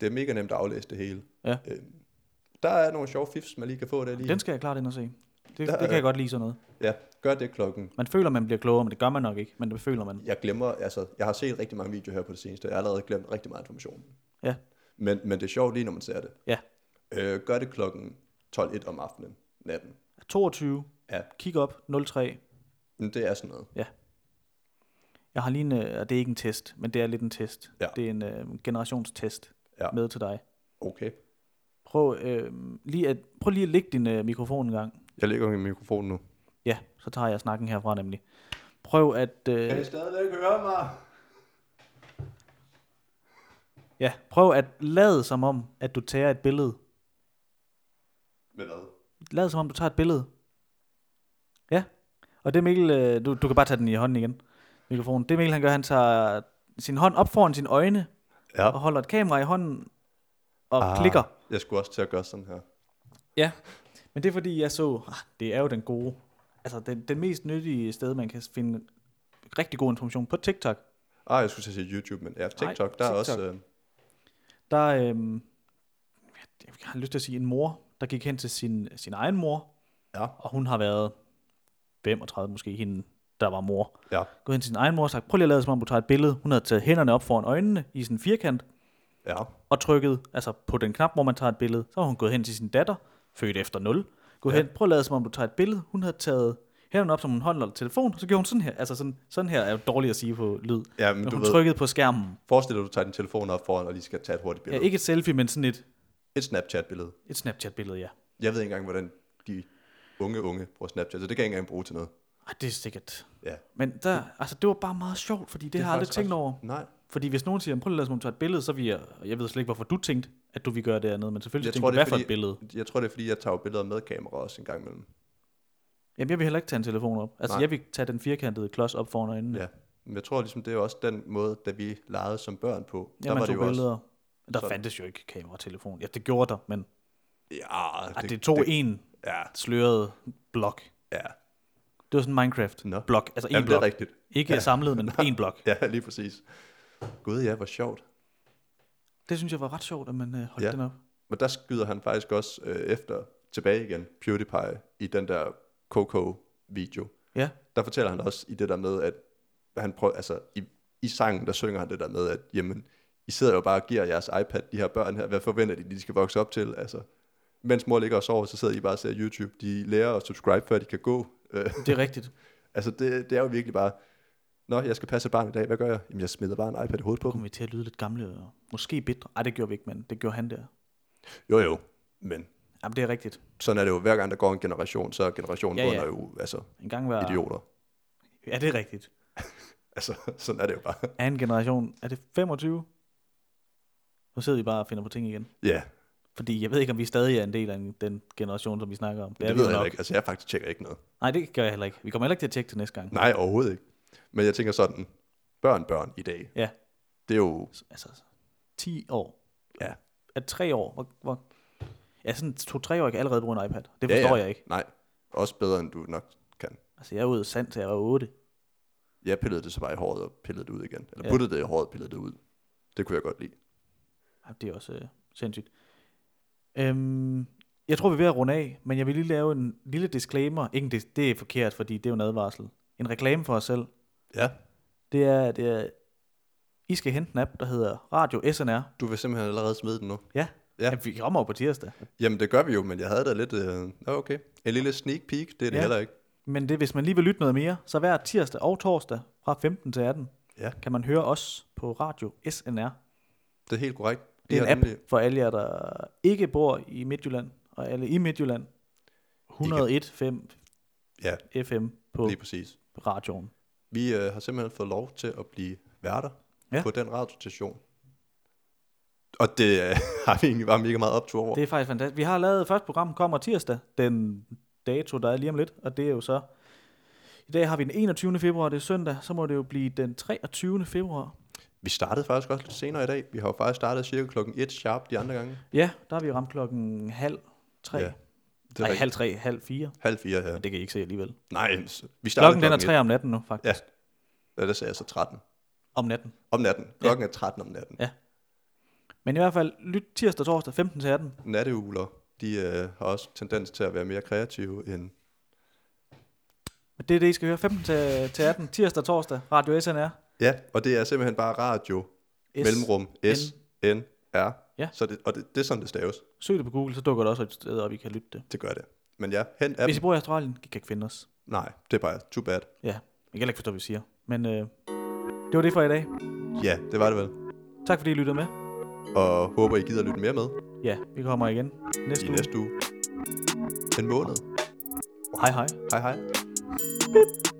A: det er mega nemt at aflæse det hele.
B: Ja.
A: Øhm, der er nogle sjove fifs, man lige kan få der lige.
B: Den skal jeg klart ind og se. Det,
A: Der
B: det kan
A: er-
B: jeg godt lide sådan noget.
A: Ja, gør det klokken.
B: Man føler, man bliver klogere, men det gør man nok ikke. Men det føler man.
A: Jeg glemmer, altså, jeg har set rigtig mange videoer her på det seneste, og jeg har allerede glemt rigtig meget information.
B: Ja.
A: Men, men det er sjovt lige, når man ser det.
B: Ja.
A: Øh, gør det klokken 12.01 om aftenen, natten.
B: 22,
A: Ja.
B: kig op, 03.
A: Men det er sådan noget.
B: Jeg har lige en, øh, og det er ikke en test, men det er lidt en test.
A: Ja.
B: Det er en øh, generationstest
A: Ja.
B: med til dig.
A: Okay.
B: Prøv, øh, lige at, prøv lige at lægge din øh, mikrofon en gang.
A: Jeg lægger min mikrofon nu.
B: Ja, så tager jeg snakken herfra nemlig. Prøv at, øh,
A: stadigvæk høre mig?
B: ja, prøv at lade som om, at du tager et billede.
A: Med hvad?
B: Lad som om, du tager et billede. Ja. Og det Mikkel, øh, du, du kan bare tage den i hånden igen, mikrofonen. Det Mikkel han gør, han tager sin hånd op foran sine øjne,
A: Ja.
B: og holder et kamera i hånden, og
A: Ah.
B: ah. klikker.
A: Jeg skulle også til at gøre sådan her.
B: Ja. Men det er fordi, jeg så, ah, det er jo den gode, altså den, den mest nyttige sted, man kan finde rigtig god information på TikTok.
A: Ah, jeg skulle til at sige YouTube, men ja, TikTok, der er
B: TikTok.
A: også... Øh,
B: Der er, øhm, jeg har lyst til at sige, en mor, der gik hen til sin, sin egen mor,
A: ja,
B: og hun har været 35 måske, hende, der var mor.
A: ja,
B: gået hen til sin egen mor og sagt, prøv lige at lade som om, du tager et billede. Hun havde taget hænderne op foran øjnene i sådan en firkant
A: ja,
B: og trykket altså på den knap, hvor man tager et billede. Så har hun gået hen til sin datter, født efter 0. Gået
A: Ja.
B: hen, prøv at lade som om, du tager et billede. Hun havde taget hænderne op, som hun holder telefon, og så gjorde hun sådan her. Altså sådan, sådan her er jo dårligt at sige på lyd.
A: ja. men
B: Men
A: du
B: hun
A: ved,
B: trykkede på skærmen.
A: forestil dig, at du tager din telefon op foran, og lige skal tage et hurtigt
B: Ja,
A: billede.
B: ikke et selfie, men sådan et,
A: Et Snapchat-billede.
B: et Snapchat-billede, ja.
A: Jeg ved ikke engang, hvordan de unge unge bruger Snapchat, så det kan jeg ikke engang bruge til noget.
B: Ej, det er sikkert.
A: Ja.
B: Men der, altså, det var bare meget sjovt, fordi det, det
A: er
B: har jeg aldrig
A: faktisk
B: tænkt over.
A: Nej,
B: Fordi hvis nogen siger, prøv lige at lade som om, du tager et billede, så vil jeg, jeg ved slet ikke, hvorfor du tænkte, at du ville gøre det andet, men selvfølgelig
A: jeg
B: tænkte
A: tror,
B: du,
A: det er
B: hvad for et billede.
A: fordi, jeg tror, det er, fordi jeg tager jo billeder med kamera også en gang imellem.
B: Jamen, jeg vil heller ikke tage en telefon op. Altså, Nej.
A: Nej.
B: jeg vil tage den firkantede klods op foran øjnene. Ja,
A: Ja. Men jeg tror ligesom, det er jo også den måde, da vi legede som børn på.
B: der man
A: det
B: tog billeder. Også. Der
A: sådan.
B: fandtes jo ikke kamera og telefon. Ja, det gjorde der, men
A: Ja,
B: det, det tog
A: det-
B: en
A: Ja,
B: sløret blok.
A: ja.
B: Det var sådan Minecraft.
A: Nå.
B: Blok, altså en
A: Jamen, det
B: blok.
A: er rigtigt.
B: Ikke ja.
A: <laughs>
B: samlet, men en blok.
A: Ja, lige præcis. Gud, ja, hvor sjovt.
B: Det synes jeg var ret sjovt, at man øh, holdt ja.
A: Ja.
B: den op.
A: Men der skyder han faktisk også øh, efter tilbage igen, PewDiePie, i den der Coco-video.
B: Ja,
A: Der fortæller han også i det der med, at han prøver, altså i, i sangen, der synger han det der med, at jamen, I sidder jo bare og giver jeres iPad, de her børn her, hvad forventer de, de skal vokse op til? Altså, mens mor ligger og sover, så sidder I bare og ser YouTube. De lærer at subscribe, før de kan gå. Øh, <laughs>
B: det er rigtigt.
A: altså, det, det er jo virkelig bare, Nå, jeg skal passe et barn i dag, hvad gør jeg? Jamen, jeg smider bare en iPad i hovedet på dem.
B: Nu kommer vi til at lyde lidt gamle og måske bitre. Ej, det gjorde vi ikke, men det gjorde han der.
A: Jo, jo, men
B: Jamen, det er rigtigt.
A: sådan er det jo. Hver gang der går en generation, så er generationen
B: Ja,
A: ja,
B: ja.
A: ja. jo, altså,
B: En gang var...
A: idioter.
B: Ja, det er rigtigt.
A: Altså, <laughs> sådan er det jo bare.
B: Anden generation, er det 25? Nu sidder vi bare og finder på ting igen.
A: Ja,
B: Fordi jeg ved ikke, om vi stadig er en del af en- den generation, som vi snakker om.
A: det,
B: er
A: det
B: vi
A: ved
B: jo
A: jeg
B: nok.
A: heller ikke. Altså, jeg faktisk tjekker ikke noget.
B: Nej, det gør jeg heller ikke. Vi kommer heller ikke til at tjekke til næste gang.
A: Nej, overhovedet ikke. Men jeg tænker sådan, børn, børn i dag,
B: Ja,
A: det er jo,
B: altså 10 år.
A: ja,
B: at tre år, hvor, hvor ja, sådan to-tre år kan allerede bruge en iPad. Det forstår ja, ja. jeg ikke.
A: Nej, også bedre end du nok kan.
B: Altså, jeg er ude sand til jeg var otte.
A: Jeg pillede det så bare i håret og pillede det ud igen. Eller
B: Ja.
A: ja. puttede det i håret og pillede det ud. Det kunne jeg godt lide.
B: Ej, Det er også øh, sindssygt. Øhm, jeg tror, vi er ved at runde af, men jeg vil lige lave en lille disclaimer. Ikke, en dis- det er forkert, fordi det er jo en advarsel. En reklame for os selv.
A: Ja.
B: Det er, at øh, I skal hente en app, der hedder Radio SNR.
A: Du vil simpelthen allerede smide den nu.
B: Ja,
A: Ja.
B: ja. vi kommer jo på tirsdag.
A: Jamen, det gør vi jo, men jeg havde da lidt... Øh, nå, okay. En lille sneak peek, det er det
B: Ja.
A: ja. heller ikke.
B: Men det, hvis man lige vil lytte noget mere, så hver tirsdag og torsdag fra 15 til 18,
A: Ja.
B: kan man høre os på Radio SNR.
A: Det er helt korrekt. Vi
B: Det er
A: har
B: en app
A: nemlig-
B: for alle jer, der ikke bor i Midtjylland, og alle i Midtjylland. 101.5
A: Ja,
B: FM på
A: lige præcis.
B: radioen.
A: Vi øh, har simpelthen fået lov til at blive værter
B: Ja.
A: ja. på den radiostation. Og det øh, <laughs> har vi egentlig bare mega meget optur over.
B: Det er faktisk fantastisk. Vi har lavet første program, kommer tirsdag, den dato, der er lige om lidt, og det er jo så... I dag har vi den 21. februar, det er søndag, så må det jo blive den 23. februar.
A: Vi startede faktisk også lidt senere i dag. Vi har jo faktisk startet cirka klokken 1 sharp de andre gange.
B: Ja, der har vi ramt klokken halv tre.
A: Ja,
B: Ja,
A: Det er
B: Nej,
A: rigtigt.
B: halv tre, halv fire.
A: halv fire, ja.
B: Men det kan I ikke se alligevel.
A: Nej, s- vi startede
B: Klokken den er tre om natten nu, faktisk.
A: et. Ja, ja, der sagde jeg så 13.
B: Om natten.
A: Om natten. Klokken ja. er 13 om natten.
B: Ja. Men i hvert fald, lyt tirsdag, torsdag, 15 til 18.
A: Natteuler, de øh, har også tendens til at være mere kreative end...
B: Men det er det, I skal høre. 15 til, til 18, tirsdag, torsdag, Radio SNR.
A: Ja, og det er simpelthen bare radio, S- mellemrum, S, N, R.
B: Ja.
A: Så det, og det, det er sådan, det staves.
B: Søg det på Google, så dukker det også et sted op, I kan lytte det.
A: Det gør det. Men ja, hent
B: Hvis
A: appen.
B: I bor i Australien, I kan ikke finde os.
A: Nej, det er bare too bad.
B: Ja, jeg kan heller ikke forstå, hvad vi siger. Men øh, det var det for i dag.
A: Ja, det var det vel.
B: Tak fordi I lyttede med.
A: Og håber, I gider lytte mere med
B: Ja, vi kommer igen næste
A: i
B: uge.
A: næste uge. En måned.
B: Hej hej.
A: Hej hej.